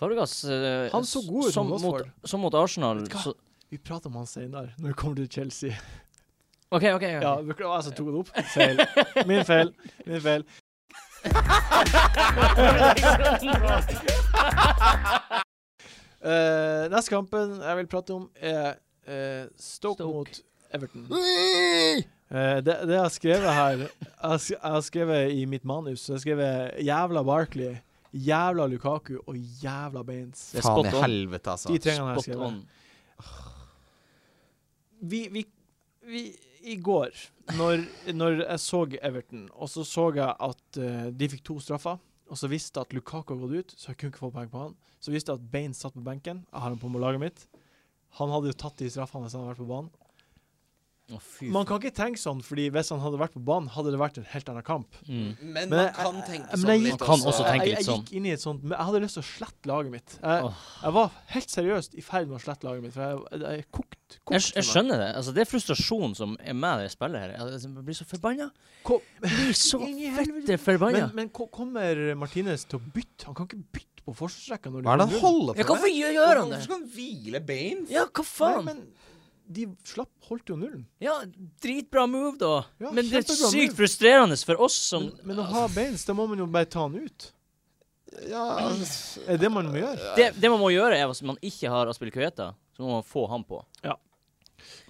S2: Fabregas eh,
S1: Han så god ut
S2: som
S1: mot
S2: mot,
S1: Watford.
S2: som mot Arsenal
S1: Vet du hva?
S2: så,
S1: Vi prater om han senere, når det kommer til Chelsea.
S2: OK, OK. ok.
S1: Ja, beklager, jeg som altså, tok det opp. Feil. Min feil. Min feil. Eh, neste kampen jeg vil prate om, er eh, Stoke,
S2: Stoke.
S1: mot Everton.
S2: Mm.
S1: Eh, det, det jeg har skrevet her jeg har sk- Jeg har skrevet i mitt manus så jeg har skrevet jævla Barkley, jævla Lukaku og jævla Baines.
S2: Det er
S4: Faen
S2: spot
S4: i
S2: on.
S4: helvete, altså.
S1: De tre gangene jeg har
S2: Spot
S1: skrevet.
S2: on.
S1: vi, vi, vi I går, når, når jeg så Everton, og så så jeg at eh, de fikk to straffer, og så visste jeg at Lukaku har gått ut, så jeg kunne ikke få poeng på han. Så visste jeg at Baines satt på benken. Jeg har han på med laget mitt. Han hadde jo tatt de straffene hvis han hadde vært på banen.
S2: Å, fy
S1: Man kan ikke tenke sånn, fordi hvis han hadde vært på banen, hadde det vært en helt annen kamp.
S2: faen. Mm.
S4: Men
S1: Men
S4: man
S1: jeg-
S4: kan tenke
S1: men
S4: sånn
S1: jeg
S4: litt
S1: gikk-
S2: Man kan også tenke
S1: jeg,
S2: litt
S1: jeg
S2: sånn.
S1: gikk inn i et sånt men Jeg hadde lyst til å slette laget mitt. Jeg,
S2: Åh.
S1: jeg var helt seriøst i ferd med å slette laget mitt, for jeg, jeg, jeg er kokt. kokt
S2: Jeg, jeg
S1: for meg.
S2: skjønner det. Altså, det er frustrasjon som er med det spillet her. Jeg- Jeg blir så forbanna.
S1: Kom-
S2: Jeg Blir så
S1: Inn i helvete.
S2: fette forbanna.
S1: Men, men ko- kommer Martinez til å bytte? Han kan ikke bytte på forsvarsrekka. når
S4: Hva er det
S1: de
S4: han
S1: kommer
S4: holder
S2: Ja,
S4: på
S2: hvorfor
S4: med?
S2: gjør gjør han det?
S4: Hvorfor skal han hvile Baines?
S2: Ja, hva
S1: nullen?
S2: faen?
S1: Nei, men de slapp, holdt jo nullen.
S2: Ja, dritbra move, da.
S1: Ja,
S2: men det er
S1: kjempebra
S2: sykt
S1: move.
S2: frustrerende for oss som
S1: Men, men å ha Baines, da må man jo bare ta han ut.
S4: Ja, altså,
S1: Er det det man må gjøre?
S2: det, det man må gjøre, er hvis man ikke har Aspille Kueta, så må man få han på.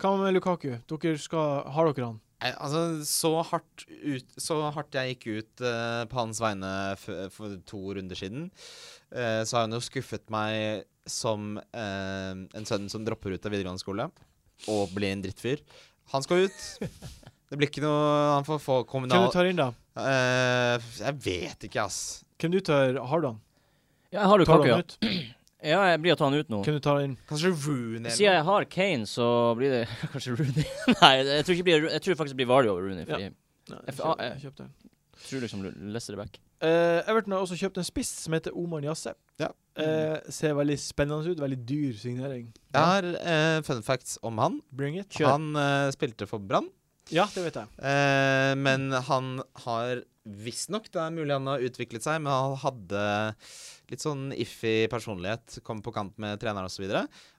S1: Hva med Lukaku? Dere skal, har dere han?
S4: Nei, altså så hardt, ut, så hardt jeg gikk ut eh, på hans vegne f for to runder siden, eh, så har han jo skuffet meg som eh, en sønn som dropper ut av videregående skole og blir en drittfyr. Han skal ut. Det blir ikke noe Han får få
S1: Hvem
S4: kommunal
S1: du tar inn, da?
S4: Eh, Jeg vet ikke, ass.
S1: Hvem du tar, Har du han?
S2: Ja, jeg
S1: Tar
S2: har Lukaku,
S1: du
S2: ja.
S1: han ut?
S2: ja. Jeg blir å ta han ut nå.
S1: Hvem du tar inn?
S4: Kanskje Rooney
S2: Siden jeg har Kane, så blir det kanskje Rooney. Nei, jeg tror, ikke det blir, jeg tror faktisk det blir Vardy over Rooney. Fordi
S1: Nei,
S2: Jeg
S4: E.
S1: jeg
S2: får-
S1: kjøp- jeg kjøpte han.
S2: jeg tror liksom Leicester er back.
S1: Eh, Everton har også kjøpt en spiss som heter Omar Niasse.
S4: Ja.
S1: ser veldig spennende ut. Veldig dyr signering.
S4: Jeg har eh, fun facts om han.
S1: Bring it.
S4: Han eh, spilte for Brann,
S1: Ja, det vet jeg.
S4: eh, men han har visstnok Det er mulig han har utviklet seg, men han hadde litt sånn iffy personlighet. Kom på kant med treneren osv.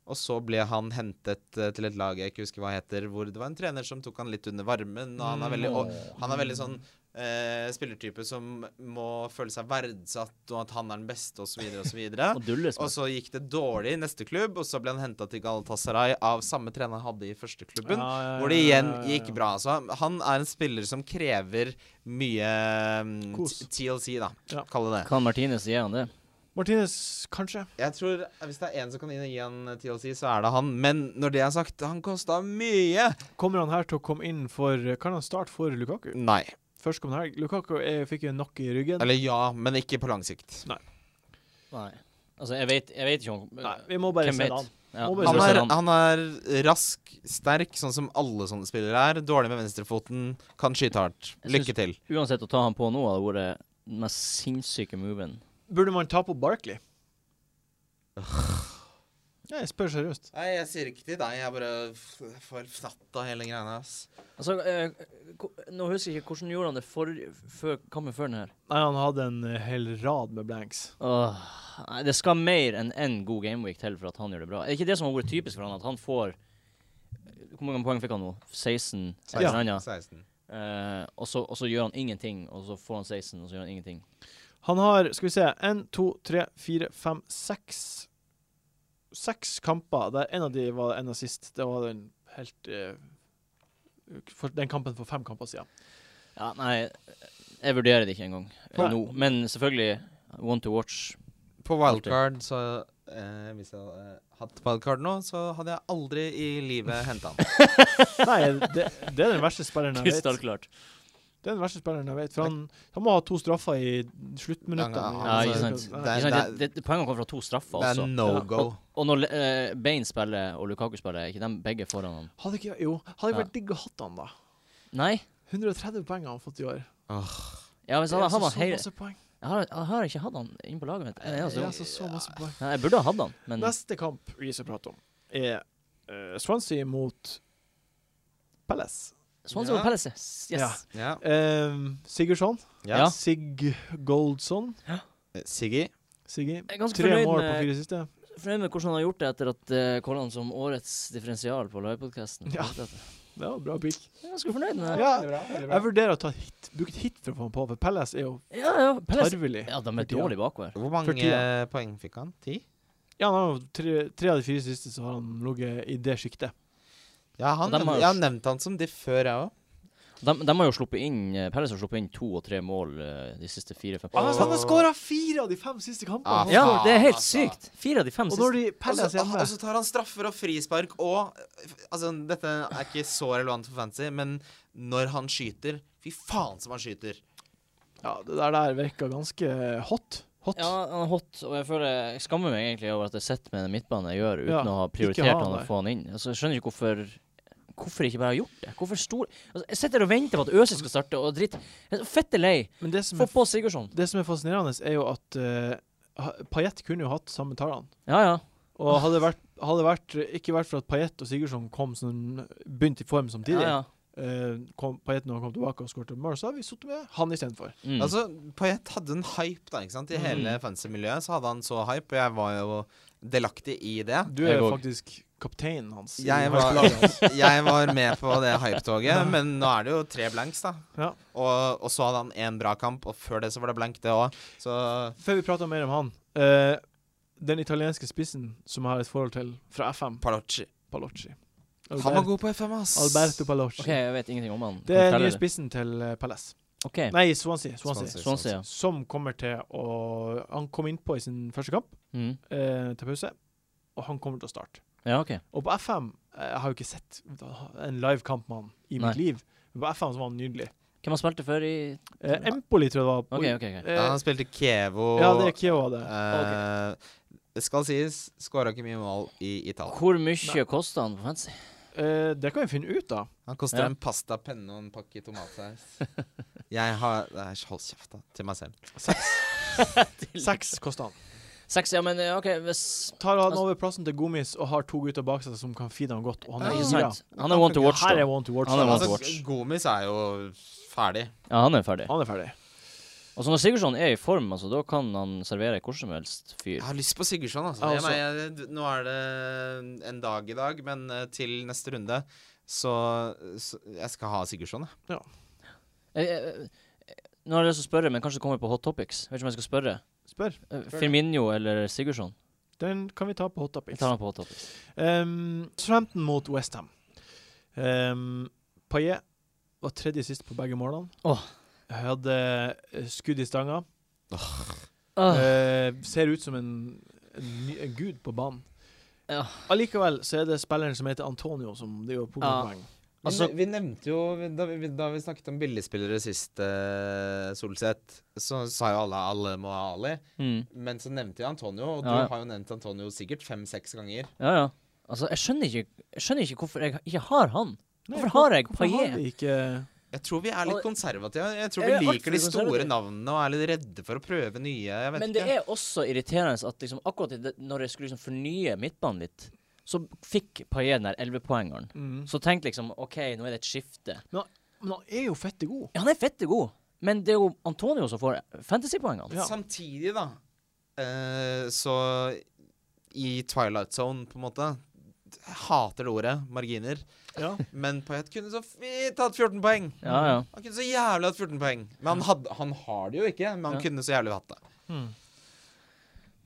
S4: Og så ble han hentet eh, til et lag jeg ikke husker hva heter, hvor det var en trener som tok han litt under varmen. Og
S2: Mm.
S4: han er
S1: Mm.
S4: veldig, og, han er veldig sånn eh, spillertype som må føle seg verdsatt, og at han er den beste, osv. osv.
S2: Og dulles
S4: Og
S2: med.
S4: så gikk det dårlig i neste klubb, og så ble han henta til Galatasaray av samme trener han hadde i første klubben,
S1: Ja, ja,
S4: hvor det igjen
S1: ja, ja, ja.
S4: gikk bra. Så han- han er en spiller som krever mye mm,
S1: Kos.
S4: t- TLC, da.
S1: Ja.
S4: Kall det det.
S2: Kan Martinez gi han det?
S1: Martinez, kanskje?
S4: Jeg tror eh, Hvis det er én som kan inn og gi han eh, TLC, så er det han. Men når det er sagt, han kosta mye!
S1: Kommer han her til å komme inn for Kan han starte for Lukaku?
S4: Nei.
S1: Førstkommende helg. Lukaku eh, fikk jo en knock i ryggen.
S4: Eller ja, men ikke på lang sikt.
S2: Nei. Altså, jeg vet, jeg vet ikke om
S1: Nei, vi må bare
S2: Hvem
S1: se
S2: vet?
S1: det an.
S2: Ja,
S1: Må bare
S4: Han
S2: så
S4: er,
S2: ser han-
S4: han er rask, sterk, sånn som alle sånne spillere er. Dårlig med venstrefoten, kan skyte hardt.
S2: Jeg synes-
S4: Lykke til.
S2: Uansett, å ta han på nå hadde vært den mest sinnssyke moven.
S1: Burde man ta på Barkley? Ja, jeg spør seriøst.
S4: Nei, jeg sier ikke til deg. Jeg bare f- får fnatt av hele greiene. ass.
S2: Altså, eh, ko- nå husker jeg ikke hvordan gjorde han det for, før, kampen før den her.
S1: Nei, han hadde en eh, hel rad med blanks.
S2: Åh, nei, det skal mer enn én god gameweek til for at han gjør det bra. Er ikke det som har vært typisk for han, at han får Hvor mange poeng fikk han nå? 16? Et eller annet.
S4: 16.
S2: Eh, og, så, og så gjør han ingenting, og så får han 16, og så gjør han ingenting.
S1: Han har, skal vi se, én, to, tre, fire, fem, seks Seks kamper der en av de var en av sist. Det var den helt eh, for, Den kampen for fem kamper siden.
S2: Ja, nei, jeg vurderer det ikke engang eh,
S1: Nei.
S2: nå. Men selvfølgelig, one to watch.
S4: På wildcard, så eh, Hvis jeg hadde hatt wildcard nå, så hadde jeg aldri i livet henta han.
S1: Nei, det, det er den verste spilleren jeg vet. Altså,
S2: Krystallklart.
S1: Det er den verste spilleren jeg vet For han, han må ha to straffer i sluttminuttene.
S4: Ja,
S2: ikke
S1: Altså,
S2: sant.
S1: Nei.
S2: Ikke
S4: Det er-
S2: sant, Det, det, poengene kommer fra to straffer,
S4: Det er
S2: altså.
S4: no go.
S2: Og når eh, Bane spiller og Lukaku spiller, er ikke de begge foran han?
S1: Hadde ikke, jo, hadde
S2: Ja.
S1: vært digg å hatt han, da.
S2: Nei?
S1: 130 poeng har han fått i år.
S2: Ja, hvis han
S1: Det er
S2: hadde hatt
S1: altså
S2: han
S1: så
S2: hele
S1: masse poeng.
S2: jeg har, jeg har ikke hatt han inn på laget mitt. Jeg,
S1: Det
S2: jeg,
S1: er
S2: altså,
S1: altså så masse poeng.
S2: Nei, jeg burde ha hatt han, men
S1: Neste kamp vi skal prate om, er eh, Swansea mot Palace.
S2: Swansea
S4: Ja.
S2: og Palace, yes.
S1: Ja.
S4: Ja.
S1: Um, Sigurdsson.
S2: Ja.
S1: Sig Goldson.
S4: Eh, Siggy.
S1: Siggy.
S2: Jeg er ganske
S1: Tre
S2: fornøyd
S1: mål på
S2: med-
S1: fire siste.
S2: Fornøyd med hvordan han har gjort det etter at uh, kåla han som årets differensial på livepodkasten.
S1: Ja.
S2: Jeg
S1: Det var bra pikk.
S2: er ganske fornøyd med det.
S1: Ja, jeg vurderer å ta hit, bruke et hit for å få han på, for Palace er jo
S2: Ja, ja. Palace
S1: tarvelig.
S2: Ja, de er
S1: 40, ja.
S2: dårlig bakover.
S4: Hvor
S1: For
S4: mange eh,
S1: tida.
S4: poeng fikk han? Ti?
S1: Ja, han har jo tre, tre av de fire siste så har han ligget i det sjiktet.
S4: Ja, han,
S2: Og dem har
S4: jeg
S2: jo-
S4: har nevnt han som de før, jeg òg.
S2: De, de har jo sluppet inn eh, Palace har sluppet inn to og tre mål eh, de siste fire-fem
S1: Han
S4: Ah,
S1: har skåra fire av de fem siste
S4: Ah,
S1: kampene!
S2: Ja,
S4: faen,
S2: det er helt
S4: altså.
S2: sykt! Fire av de fem
S1: og når
S2: siste.
S1: de Palace hjemme
S4: ah, Og så tar han straffer og frispark og Altså, dette er ikke så relevant for fancy, men når han skyter Fy faen som han skyter.
S1: Ja, det der der virka ganske hot. Hot.
S2: Ja, han er hot, og jeg føler Jeg skammer meg egentlig over at jeg sitter med den midtbanen jeg gjør, uten
S1: Ja,
S2: å
S1: ikke
S2: ha
S1: ha
S2: prioritert han
S1: han
S2: og
S1: der.
S2: få han inn. Altså, jeg skjønner ikke hvorfor Hvorfor ikke bare ha gjort det? Hvorfor stor altså, Jeg sitter og venter på at Øse skal starte, og dritt Jeg er så fette lei!
S1: Men det som,
S2: Få
S1: er,
S2: på Sigurdsson.
S1: det som er fascinerende, er jo at uh, Pajett kunne jo hatt samme tallene.
S2: Ja, ja.
S1: Og hadde det vært, hadde det vært, ikke vært for at Payet og Sigurdsson kom sånn, begynte i form samtidig
S2: ja, ja.
S1: eh, kom, Payet når han kom tilbake og skåret mål, så hadde vi sittet med han istedenfor.
S2: Mm.
S4: Altså, Payet hadde en hype da, ikke sant? I
S1: Mm.
S4: hele fancy-miljøet så hadde han så hype, og jeg var jo delaktig i det.
S1: Du er
S2: Jeg
S1: jo
S2: òg.
S1: faktisk kapteinen hans. i
S4: Jeg var-
S1: laget hans.
S4: Jeg var med på det hypetoget, men nå er det jo tre blanks, da.
S1: Ja.
S4: Og, og så hadde han én bra kamp, og før det så var det blank, det òg. Så
S1: Før vi prater mer om han eh, Den italienske spissen som jeg har et forhold til fra FM,
S4: Palocci.
S1: Palocci.
S4: Han var god på FM, ass.
S1: Alberto Palocci.
S2: OK, jeg vet ingenting om han.
S1: Det er
S2: Kan du
S1: nye
S2: fortelle
S1: spissen til eh, Palace.
S2: OK. sånn
S1: Nei, Swansea. Swansea.
S4: Swansea.
S2: Swansea, ja.
S1: Som kommer til å Han kom innpå i sin første kamp
S2: Mm.
S1: eh, til pause, og han kommer til å starte.
S2: Ja, OK.
S1: Og på FM Jeg har jo ikke sett en livekamp med han i
S2: Nei.
S1: mitt liv. Men på FM så var han nydelig.
S2: Hvem han spilte før i
S1: Eh, Empoli, tror jeg det var.
S2: OK, OK. ok.
S1: Eh,
S4: Ja, han spilte Kevo.
S1: ja, det er Kiowa, det.
S4: Eh, Det skal sies, skåra ikke mye mål i Italia.
S2: Hvor mye kosta han på fancy?
S1: Eh, det kan vi finne ut av.
S4: Han koster
S2: Ja.
S4: en pasta, penne og en pakke tomatsaus. jeg har Nei, Hold kjeft, da. Til meg selv.
S1: Seks koster han.
S2: Seks, ja, men eh, OK, hvis
S1: Tar han over plassen til Gomis og har to gutter bak seg som kan feede han godt. Og han
S4: Ja,
S1: er
S2: Ah. Ikke
S4: ja.
S1: gira.
S2: sant? Han er one to watch,
S1: Her
S2: da.
S1: er one to watch.
S2: Han er one to
S1: altså.
S2: watch.
S4: Gomis er jo ferdig.
S2: Ja, han er ferdig.
S1: han er ferdig.
S2: Og så når Sigurdsson er i form, altså, da kan han servere hvor som helst fyr.
S4: Jeg har lyst på Sigurdsson, altså.
S1: Ja,
S4: Jeg, mener, jeg, nå er det en dag i dag, men eh, til neste runde så, så Jeg skal ha Sigurdsson, jeg.
S2: Eh, eh, eh, Nå har jeg lyst til å spørre, men kanskje det kommer på hot topics. Vet ikke om jeg skal spørre.
S1: Spør.
S2: Eh,
S4: Spør.
S2: Firmino eller Sigurdsson?
S1: Den kan vi ta på hot
S2: Jeg
S1: topics.
S2: tar han på hot topics.
S1: Um, Southampton mot Westham. Um, Paillet var tredje sist på begge målene.
S2: Åh.
S1: Jeg Hadde eh, skudd i stanga.
S2: Ah,
S1: Eh, ser ut som en, en, ny- en gud på banen.
S2: Ja.
S1: Allikevel så er det spilleren som heter Antonio, som driver på
S2: Ja.
S1: poeng.
S2: altså,
S4: vi, nevnte jo da vi, snakket om billigspillere sist, eh, Solseth, så sa jo alle alle må ha Ali.
S2: mm,
S4: Men så nevnte jeg Antonio, og
S2: Ja, ja.
S4: du har jo nevnt Antonio sikkert fem-seks ganger.
S2: ja, ja. Altså, jeg skjønner ikke, jeg skjønner ikke hvorfor jeg ikke har han.
S1: Nei,
S2: Hvorfor har jeg
S1: hvorfor har
S2: Payet?
S1: vi ikke
S4: Jeg tror vi er litt
S2: Og-
S4: konservative. Jeg tror
S2: Jeg er
S4: vi liker de
S2: altfor
S4: store
S2: konservativ.
S4: navnene og er litt redde for å prøve nye. Jeg vet
S2: Men det
S4: ikke.
S2: er også irriterende at liksom, akkurat i det, når jeg skulle liksom fornye midtbanen litt, så fikk Paillet den der 11-poengeren.
S1: mm.
S2: Så tenk liksom OK, nå er det et skifte.
S1: Men han er jo fette god.
S2: Ja, han er fette god, men det er jo Antonio som får fantasypoengene.
S1: Ja.
S4: Samtidig, da, eh, så i Twilight Zone, på en måte jeg Hater det ordet, marginer.
S1: Ja.
S4: Men Payet kunne så fint hatt 14 poeng.
S2: Ja, ja.
S4: Han kunne så jævlig hatt 14 poeng. Men han, hadde, han har det jo ikke, men han
S2: Ja.
S4: kunne så jævlig hatt det.
S1: Mm.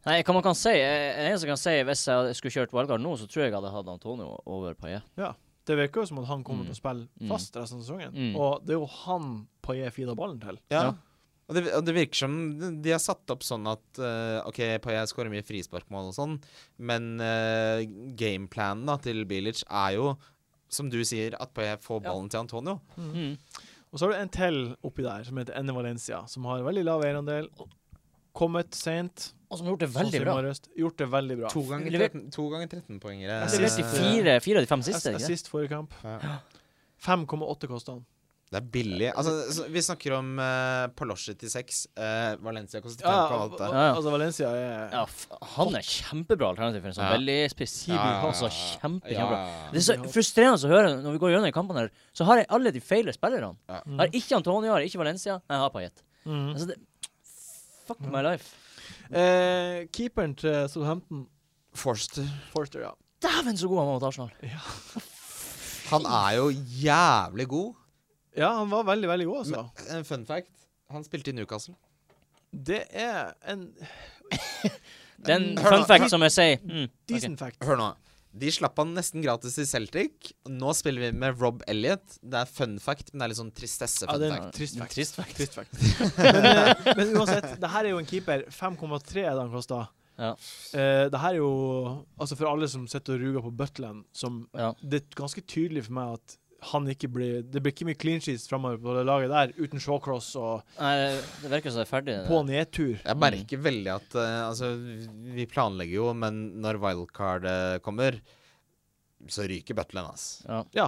S2: Nei, hva man kan si, eh, det eneste jeg kan si, hvis jeg skulle kjørt valgkart nå, så tror jeg jeg hadde hatt Antonio over Paillet.
S1: Det virker jo som at han kommer
S2: Mm.
S1: til å spille
S2: Mm.
S1: fast resten av sesongen.
S2: Mm.
S1: Og det er jo han Paillet feeder ballen til.
S4: Ja.
S2: Ja.
S4: Og, det, og det virker som de har satt opp sånn at eh, OK, Payet skårer mye frisparkmål og sånn, men eh, gameplanen da til Bilic er jo, som du sier, at Payet får
S2: Ja.
S4: ballen til Antonio.
S2: Mm.
S1: Og så har du en til oppi der, som heter Enne Valencia, som har veldig lav eierandel. Kommet seint.
S2: Og som har gjort det
S1: sånn
S2: veldig
S1: som i
S2: bra.
S1: morges. Gjort det veldig bra.
S4: To ganger
S2: Levert-
S4: 13 to ganger 13-poengere.
S1: Jeg
S2: Det er
S1: Siste-
S2: de fire, fire av de fem siste.
S1: Sist,
S2: ikke?
S1: sist forrige kamp.
S4: Ja.
S1: 5,8 kosta han.
S4: Det er billig. Altså, så- vi snakker om uh, Palosje til seks. eh, Valencia koster fem
S1: Ja,
S4: på alt
S1: al-
S2: Ja,
S4: det.
S2: ja.
S1: altså Valencia er
S2: Ja, f han er kjempebra alternativ for en sånn
S4: Ja.
S2: veldig spesiell Altså, kjempe, kjempebra. Det
S4: ja.
S2: er så frustrerende å høre når vi går gjennom de kampene her, så har jeg alle de feile spillerne.
S4: Ja.
S2: Jeg har ikke Antonio, jeg har ikke Valencia, jeg har Payet.
S1: Mhm.
S2: Altså, det Fuck my life.
S1: eh, Keeperen til Southampton,
S4: Forster.
S1: Forster, ja.
S2: Dæven, så god han var mot Arsenal.
S4: Han er jo jævlig god.
S1: Ja, han var veldig, veldig god, altså.
S4: Eh, Fun fact. Han spilte i Newcastle.
S1: Det er en
S2: Den
S4: Hør
S2: fun
S4: nå.
S2: fact som jeg sier mm, ok.
S1: decent fact.
S4: Hør nå. De slapp han nesten gratis i Celtic. Nå spiller vi med Rob Elliot. Det er fun fact, men det er litt sånn tristesse
S1: Ja,
S4: fun
S1: det er
S4: fact.
S1: en trist
S2: En
S1: fact.
S2: trist fact.
S1: men, eh, men uansett, det her er jo en keeper. 5,3 er det han kosta.
S2: Ja.
S1: Eh, det her er jo Altså, for alle som sitter og ruger på Butland, som
S2: Ja.
S1: Det er ganske tydelig for meg at han ikke blir Det blir ikke mye clean sheets framover på det laget der, uten Shawcross og
S2: Nei, det virker som det er ferdig.
S1: på nedtur.
S4: Jeg merker veldig at eh, Altså, vi planlegger jo, men når wildcard eh, kommer, så ryker Butland, ass.
S2: Ja.
S1: Ja.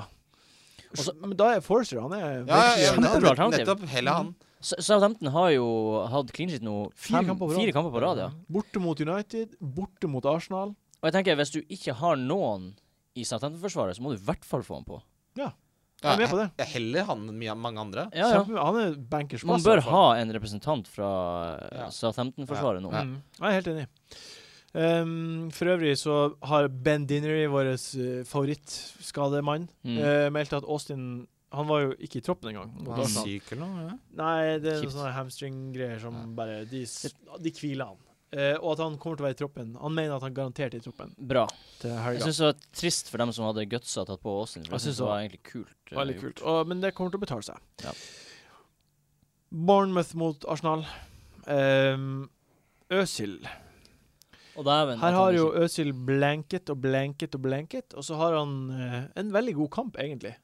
S2: Også-
S1: men da er Forster Han er
S4: Ja, ja, ja,
S1: virkelig
S2: Kjempebra
S4: nett-
S2: alternativ.
S4: Nettopp. Heller han.
S2: Sa- Southampton har jo hatt clean sheet nå
S1: Fire
S2: fem-
S1: kamper på rad.
S2: Fire kamper på rad, ja.
S1: Borte mot United, borte mot Arsenal.
S2: Og jeg tenker, hvis du ikke har noen i Southampton-forsvaret, så må du i hvert fall få han på.
S1: Jeg er med på det.
S4: he- Heller han enn mye- mange andre.
S2: Ja, ja.
S1: Kjempe- Han er bankers
S2: Man
S1: plass, i
S2: bør
S1: hvert fall.
S2: ha en representant fra eh,
S4: Ja.
S2: Southampton-forsvaret nå.
S4: Ja.
S1: Mm. Jeg er helt enig. Ehm, for øvrig så har Ben Dinnery, vår uh, favorittskademann,
S2: Mm.
S1: eh, meldt at Austin Han var jo ikke i troppen engang. mot
S4: Han er
S1: Arsenal.
S4: syk eller noe? Ja.
S1: Nei, det er noen
S2: Kjipt.
S1: sånne hamstring-greier som
S4: Ja.
S1: bare De, s- de hviler han. Eh, og at han kommer til å være i troppen. Han mener at han garantert er i troppen
S2: Bra.
S1: til
S2: Jeg
S1: helga.
S2: syns det var trist for dem som hadde gutsa tatt på Austin.
S1: Jeg
S2: For jeg synes
S1: synes også.
S2: det var egentlig kult. eh,
S1: Veldig
S2: gjort.
S1: kult. Og, men det kommer til å betale seg.
S2: Ja.
S1: Bournemouth mot Arsenal. Ehm, Øsil
S2: Og dæven.
S1: Her
S2: at
S1: har
S2: han
S1: jo
S2: ikke-
S1: Øsil blanket og blanket og blanket, og så har han eh, en veldig god kamp, egentlig.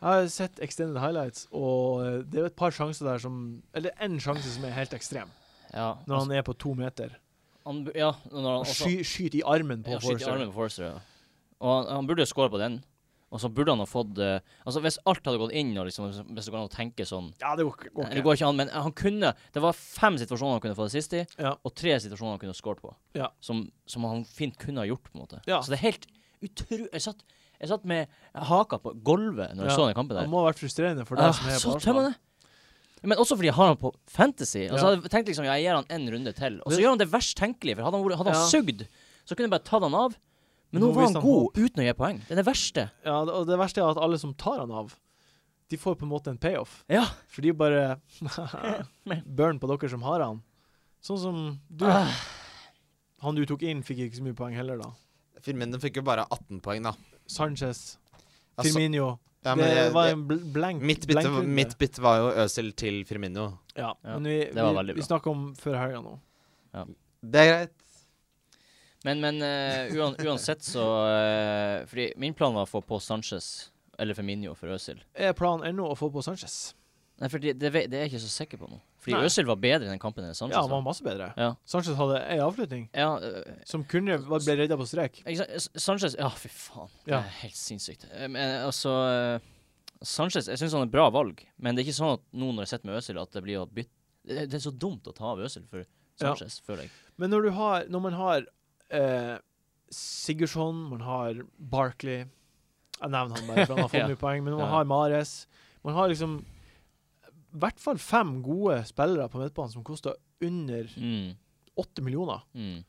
S1: Jeg har sett extended highlights, og eh, det er jo et par sjanser der som Eller én sjanse som er helt ekstrem,
S2: ja,
S1: når
S2: altså,
S1: han er på to meter.
S2: han, bu- ja, når han
S1: Og
S2: også
S1: sky, skyter i armen på
S2: ja, skyter i
S1: Forster.
S2: armen på Forster. Ja. Og han, han burde jo score på den. Og så burde han ha fått eh, Altså Hvis alt hadde gått inn, og liksom, hvis det går an å tenke sånn
S1: Ja, det går går
S2: Nei, Det
S1: ikke.
S2: går ikke an, men han kunne Det var fem situasjoner han kunne få det sist i,
S1: Ja.
S2: og tre situasjoner han kunne skåret på.
S1: Ja.
S2: Som, som han fint kunne ha gjort, på en måte.
S1: Ja.
S2: Så det er helt utrolig jeg, satt- jeg satt med haka på gulvet når jeg
S1: Ja.
S2: så den kampen
S1: Det
S2: der.
S1: må ha vært frustrerende for
S2: Ah,
S1: deg som er
S2: så
S1: på
S2: tømmende!
S1: Arsenal.
S2: Men også fordi jeg har han på Fantasy. Altså,
S1: Ja.
S2: jeg hadde tenkt liksom, ja, jeg gir han en runde til. Og så
S1: Det-
S2: gjør han det verst tenkelige, for hadde han, vært- hadde han
S1: Ja.
S2: sugd, så kunne jeg bare tatt han av. Men nå,
S1: Nå
S2: var
S1: viste
S2: han
S1: han
S2: god uten å gi poeng. Det er det verste.
S1: Ja, og det verste er at alle som tar han av, de får på en måte en payoff.
S2: Ja.
S1: For de bare Burn på dere som har han. Sånn som du.
S2: Ah.
S1: Han du tok inn, fikk ikke så mye poeng heller, da.
S4: Firmino fikk jo bare 18 poeng, da.
S1: Sanchez,
S4: Altså,
S1: Firmino.
S4: ja, men
S1: det
S4: jeg-
S1: var
S4: jeg-
S1: en bl blank
S4: mitt, bytte,
S1: blankrunde.
S4: mitt bytte var jo Øsil til Firmino.
S1: Ja,
S2: Ja,
S1: men vi,
S2: det var
S1: vi,
S2: veldig
S1: vi
S2: bra.
S1: snakker om før helga nå.
S4: Det er greit.
S2: Men, men eh, uan, uansett så eh, Fordi min plan var å få på Sanchez eller Feminio for Øsil.
S1: Er planen ennå å få på Sanchez?
S2: Nei, for det, det, vet- det er jeg ikke så sikker på nå. Fordi
S1: Nei.
S2: Øsil var bedre i den kampen enn Sanchez.
S1: Ja, han var
S2: var.
S1: masse bedre.
S2: Ja.
S1: Sanchez hadde ei avslutning
S2: Ja, eh,
S1: som kunne var- ble redda på strek.
S2: ikke sant? S- Sanchez Ja, fy faen. Det
S1: Ja.
S2: er helt sinnssykt. Eh, Men altså eh, Sanchez Jeg syns han er et bra valg, men det er ikke sånn at nå når jeg sitter med Øsil, at det blir å bytte det, det er så dumt å ta av Øsil for
S1: Ja.
S2: Sanchez, føler jeg.
S1: Men når, du har, når man har eh, Sigurdsson, man har Barkley Jeg nevner han bare, for han har fått
S2: Ja.
S1: mye poeng. Men når man
S2: Ja.
S1: har Mares Man har liksom i hvert fall fem gode spillere på midtbanen som koster under
S2: Mm,
S1: åtte millioner.
S2: mm.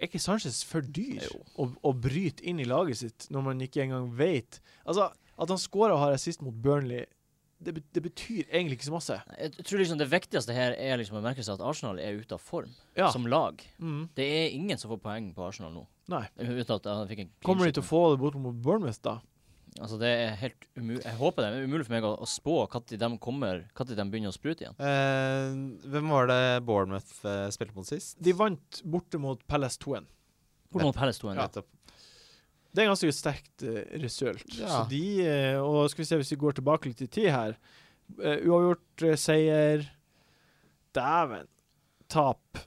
S1: Er ikke Sanchez for dyr
S2: Jo.
S1: å, å bryte inn i laget sitt når man ikke engang vet Altså, At han scorer og har assist mot Burnley, det, bet- det betyr egentlig ikke så masse.
S2: Jeg t- tror liksom det viktigste her er liksom å merke seg at Arsenal er ute av form
S1: Ja.
S2: som lag.
S1: Mm.
S2: Det er ingen som får poeng på Arsenal nå.
S1: Nei.
S2: Uten at han fikk en clean
S1: Kommer de til å
S2: sheet.
S1: få det bort mot Bournemouth, da?
S2: Altså det er helt umulig Jeg håper det er umulig for meg å, å spå når de kommer Når de begynner å sprute igjen.
S4: Eh, hvem var det Bournemouth eh, spilte mot sist?
S1: De vant borte mot Palace 2-1.
S2: Bort mot Palace 2
S4: Nettopp.
S1: Det er ganske sterkt uh, result. Så
S4: Ja.
S1: de, eh, og skal vi se hvis vi går tilbake litt i tid her Eh, Uavgjort eh, seier Dæven. Tap.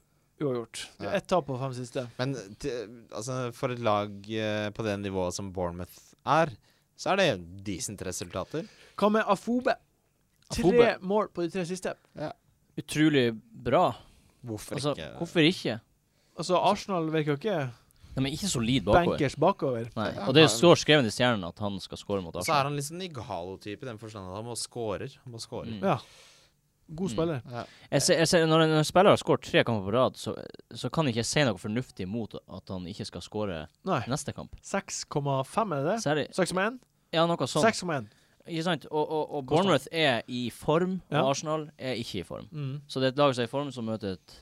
S1: Uavgjort. Det
S4: Ja.
S1: er Ett tap på fem siste.
S4: Men til, altså, for et lag eh, på det nivået som Bournemouth er, så er det decent resultater.
S1: Hva med Afobe? Tre
S2: Afobe.
S1: mål på de tre siste.
S2: Utrolig bra.
S4: Hvorfor
S2: Altså,
S4: ikke?
S2: hvorfor ikke?
S1: Altså, Arsenal virker jo ikke
S2: De er ikke solide bakover.
S1: bankers bakover.
S2: Nei.
S4: Ja,
S2: Og det
S4: han-
S2: står skrevet i stjernen at han skal score mot
S4: Og så er
S2: Arsenal.
S4: han litt sånn Igalo-type i den forstand at han må scorer. Han må score.
S2: Mm.
S1: Ja. God
S2: Mm.
S1: spiller.
S4: Ja.
S2: Jeg ser, jeg ser, når en når en spiller har skåret tre kamper på rad, så, så kan ikke jeg si noe fornuftig mot at han ikke skal skåre
S1: Nei.
S2: neste kamp.
S1: 6,5 er det?
S2: Særlig,
S1: 6,1?
S2: ja, noe sånt.
S1: 6,1.
S2: Ikke sant? Og, og, og
S1: Konstant.
S2: Bournemouth er i form, og
S1: Ja.
S2: Arsenal er ikke i form.
S1: Mm.
S2: Så det er et lag som er i form, som møter et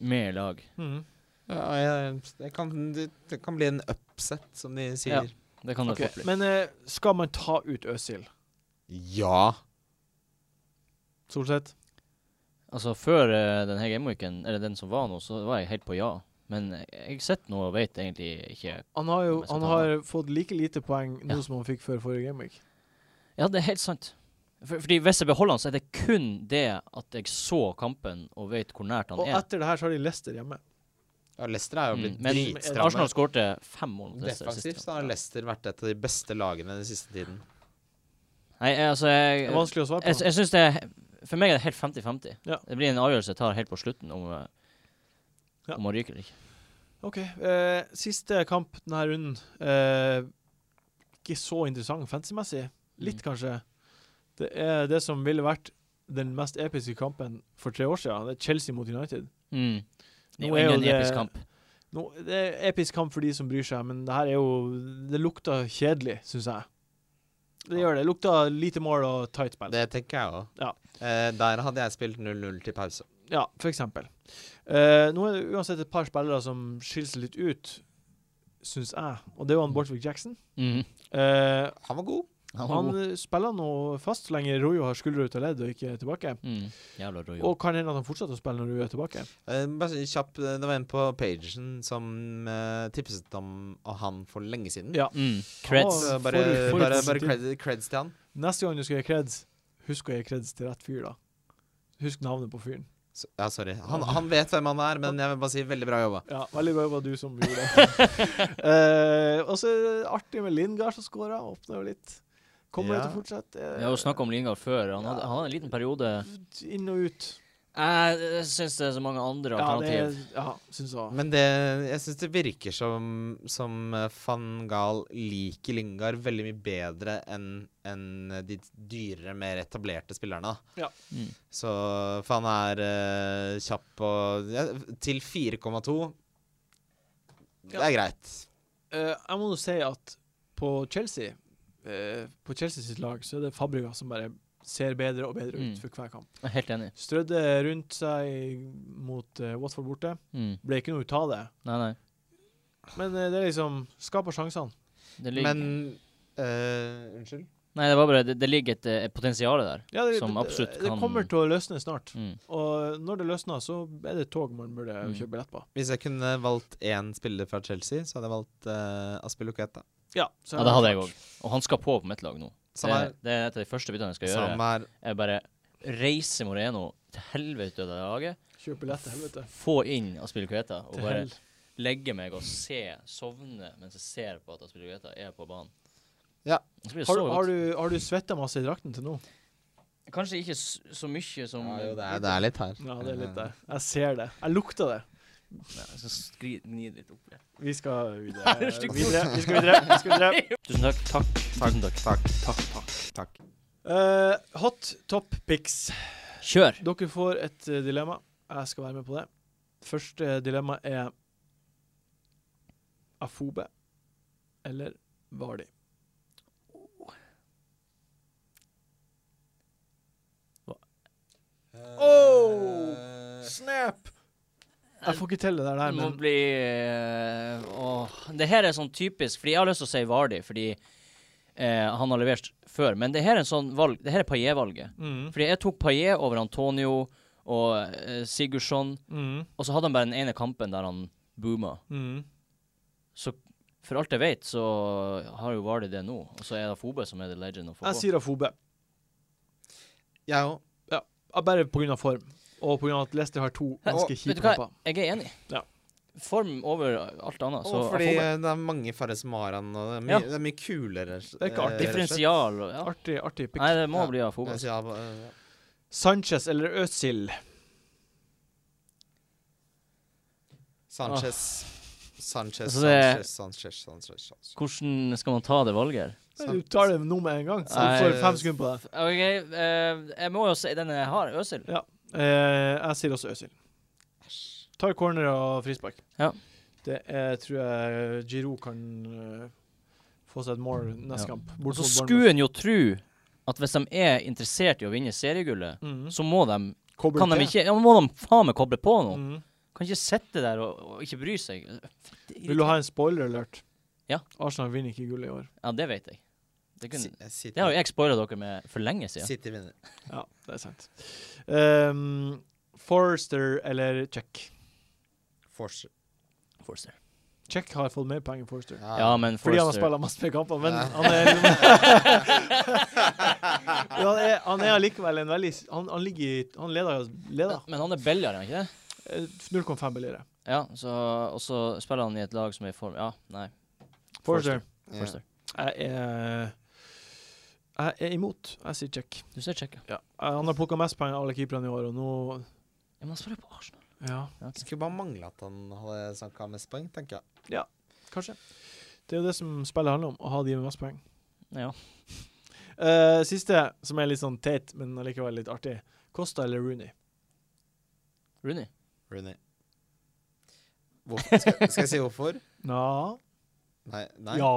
S2: mer lag.
S1: Mm.
S4: Ja, jeg, det, kan, det, det kan bli en upset, som de
S2: Ja.
S4: sier.
S2: Det kan det
S1: Ok,
S2: fort bli.
S1: Men eh, skal man ta ut Øsil,
S4: Ja.
S1: Solseth?
S2: Altså, før eh, denne gameweeken, eller den som var nå, så var jeg helt på ja. Men jeg sitter nå og vet egentlig ikke
S1: Han har jo
S2: Men
S1: han
S2: skal ta
S1: har fått like lite poeng nå
S2: Ja.
S1: som han fikk før forrige gameweek.
S2: Ja, det er helt sant. For, fordi hvis jeg beholder han, så er det kun det at jeg så kampen og vet hvor nært han
S1: Og
S2: er.
S1: etter det her så har de Leicester hjemme.
S4: ja Leicester er jo
S2: Mm.
S4: blitt
S2: Men
S1: dritstramme.
S2: Arsenal skårte fem mål mot Leicester sist
S4: Defensivt så har
S2: kamp.
S4: Leicester vært et av de beste lagene den siste tiden.
S2: Nei, jeg- altså
S1: Det
S2: jeg,
S1: er vanskelig å svare
S2: Jeg,
S1: på.
S2: jeg synes det er, For meg er det helt 50-50.
S1: Ja.
S2: Det blir en avgjørelse jeg tar helt på slutten om, eh,
S1: Ja.
S2: om man ryker eller ikke.
S1: OK. eh, siste kamp denne runden. eh, ikke så interessant fancy-messig. Litt,
S2: Mm.
S1: kanskje. Det er det som ville vært den mest episke kampen for tre år siden. Det er Chelsea mot United.
S2: Mm. Det
S1: Nå
S2: er
S1: er
S2: jo
S1: jo
S2: ingen
S1: det-
S2: episk kamp.
S1: Nå, det er episk kamp for de som bryr seg, men det her er jo Det lukter kjedelig, syns jeg. Det gjør det. Det lukter lite mål og tight spill.
S4: Det tenker jeg òg.
S1: Ja.
S4: Eh, der hadde jeg spilt 0-0 til pause.
S1: Ja, for eksempel. Eh, nå er det uansett et par spillere som skiller seg litt ut, syns jeg. Og det er jo han Bortvik Jackson.
S2: Mhm.
S1: Eh,
S4: Han var god.
S2: Han var
S1: han
S2: god.
S1: eh, spiller nå fast så lenge Rojo har skuldre ut av ledd og ikke er tilbake.
S2: Mm. Jævla rå
S1: Og
S2: jobb.
S1: kan hende at han fortsetter å spille når Rojo er tilbake.
S4: Eh, bare sånn kjapp, eh, det var en på pagen som eh, tipset om og han for lenge siden.
S1: Ja.
S2: Mm. Creds.
S1: Han
S4: Så
S1: var-
S4: bare
S1: forut- forut-
S4: bare, bare
S1: positiv.
S4: cred, creds til han.
S1: Neste gang du skal gi creds, husk å gi creds til rett fyr, da. Husk navnet på fyren.
S4: Så, ja, sorry. Han, han vet hvem han er, men jeg vil bare si veldig bra jobba.
S1: Ja, veldig bra jobba du som gjorde det. eh, og så er det artig med Lindgard som skåra. Åpna jo litt. Kommer
S4: Ja.
S1: det til å fortsette? Eh,
S2: Vi har jo snakka om Lingard før. Han hadde, han hadde en liten periode
S1: Inn og ut.
S2: Jeg, jeg syns det er så mange andre
S1: Ja, det
S2: alternativ.
S1: er, ja, syns jeg.
S4: Men det, jeg syns det virker som, som eh, van Gaal liker Lingard veldig mye bedre enn enn de dyrere, mer etablerte spillerne. da.
S2: Mm.
S4: Så For han er eh, kjapp og ja, Til 4,2 Det er greit.
S1: Eh, jeg må jo si at på Chelsea eh, På Chelsea sitt lag så er det Fabrica som bare ser bedre og bedre ut
S2: Mm.
S1: for hver kamp.
S2: Jeg er helt enig.
S1: Strødde rundt seg mot eh, Watford borte.
S2: Mm.
S1: Ble ikke noe ut av det.
S2: Nei, nei.
S1: Men eh, det er liksom Skaper sjansene.
S2: Det ligger,
S4: Men eh, Unnskyld?
S2: nei, det, var bare, det, det ligger et, eh, et potensial der.
S1: Ja, det,
S2: Som absolutt
S1: det, det
S2: kan-
S1: kommer til å løsne snart.
S2: Mm.
S1: Og når det løsner, så er det et tog man burde
S2: Mm.
S1: kjøpe billett på.
S4: Hvis jeg kunne valgt én spiller fra Chelsea, så hadde jeg valgt uh, Aspiloketa.
S1: Ja, så
S2: Ja, det hadde jeg òg. Og han skal på på mitt lag nå. Det,
S4: Som er,
S2: det er et av de første byttene jeg skal gjøre.
S4: som er
S2: Jeg bare reiser Moreno til helvete ut av det laget,
S1: Kjøp billett til helvete.
S2: få inn Aspilicueta og
S1: Til
S2: bare
S1: hell.
S2: legge meg og se, sovne mens jeg ser på at Aspilicueta er på banen.
S4: Ja.
S2: Det blir
S1: Har,
S2: så
S1: har
S2: godt.
S1: du, har du svetta masse i drakten til nå?
S2: Kanskje ikke s- så mye som
S4: ja, jo, det, er, det er litt her.
S1: Ja, det er
S2: Eh.
S1: litt der. Jeg ser det. Jeg lukter det.
S2: Nei, Jeg skal skri, gni litt opp igjen.
S1: Vi skal videre.
S2: Det er stygt.
S1: videre. Vi skal videre. Vi skal videre.
S2: Tusen takk. Takk. Tusen takk.
S4: Takk.
S2: takk, takk.
S4: Takk.
S1: Eh, hot top pics.
S2: Kjør.
S1: Dere får et eh, dilemma. Jeg skal være med på det. Første eh, dilemma er Afobe eller Vardi. Oh! Snap! Jeg får ikke til det der,
S2: Det må
S1: men
S2: bli eh, Åh. Det her er sånn typisk, fordi jeg har lyst til å si Vardi, fordi eh, han har levert før. Men det her er en sånn valg Det her er Paillet-valget.
S1: mm,
S2: Fordi jeg tok Paillet over Antonio og eh, Sigurdsson,
S1: mm,
S2: og så hadde han bare den ene kampen der han booma.
S1: mm.
S2: Så for alt jeg vet, så har jo Vardi det nå. Og så er det Fobe som er the legend of
S1: Jeg
S2: Fobe.
S1: sier Afobe.
S4: Jeg òg.
S1: Ja, Bare pga. form, og pga. at Leicester har to ganske
S2: Vet
S1: kjipe
S2: du hva,
S1: kamper.
S2: jeg er enig.
S1: Ja.
S2: Form over alt annet. Så
S4: og fordi
S2: Fobe.
S4: eh, det er mange Fares Maran, og det er, my
S2: Ja.
S4: det er mye kulere. eh, Det
S1: er ikke artig.
S2: Differensial og ja.
S1: Artig, artig pick.
S2: Nei, det må
S4: Ja.
S2: bli Afobe.
S4: Altså, Ja, eh, ja.
S1: Sanchez eller Özil?
S4: Sanchez. Sanchez,
S2: Altså, det-
S4: Sanchez, Sanchez, Sanchez, altså. Sanchez.
S2: Hvordan skal man ta det valget her?
S1: Du tar det nå med en gang, så
S2: Nei,
S1: du får
S4: eh,
S1: fem sekunder på det.
S2: OK, eh, jeg må jo si den jeg har, Øsil.
S1: Eh, jeg sier også Øsil. Tar corner og frispark.
S2: Ja.
S1: Det er, tror jeg Giroud kan eh, få seg et mål neste
S2: Ja. Altså,
S1: kamp.
S2: Og
S1: Bort
S2: så
S1: mot
S2: skulle en jo tro at hvis de er interessert i å vinne seriegullet,
S1: Bournemouth.
S2: Mm. så må de
S1: Mhm.
S2: Kan de
S1: Kobler til.
S2: ikke Ja, må de faen meg koble på nå?
S1: Mhm.
S2: Kan ikke sitte der og, og ikke bry seg.
S1: Vil du ha en spoiler alert?
S2: Ja.
S1: Arsenal vinner ikke gullet i år.
S2: Ja, det vet jeg. Det, kunne,
S4: Si- eh, City-
S2: det har jo jeg spoila dere med for lenge siden.
S4: City vinner.
S1: Ja, det er sant. Um, Forster eller Check?
S4: Forster.
S2: Forster.
S1: Check har fått mer poeng enn Forster.
S2: Ja, men
S1: Fordi han har
S2: Forster
S1: spilt masse flere kamper, men han er Men han er, han er allikevel en veldig Han, han ligger i Han leder. leder.
S2: Men han er billigere, er han ikke det?
S1: Eh, 0,5 billigere.
S2: Ja, så, og så spiller han i et lag som er i form. Ja, nei.
S1: Forster.
S4: Ja.
S2: Forster.
S1: Jeg er Jeg er imot. Jeg sier check.
S2: Du ser check, ja.
S1: Ja. Han har plukka mest poeng av alle keeperne i år, og nå
S2: Ja, Men han spiller på Arsenal.
S1: Ja,
S2: Ja, ok.
S4: Skulle bare mangle at han hadde sanka mest poeng, tenker jeg.
S1: kanskje. Det er jo det som spillet handler om, å ha de med mest poeng.
S2: Ja.
S1: Eh, siste, som er litt sånn teit, men allikevel litt artig. Costa eller Rooney?
S2: Rooney.
S4: Rooney. Hvorfor? Skal, skal jeg si hvorfor?
S1: Ja.
S4: Nei. nei.
S1: Ja.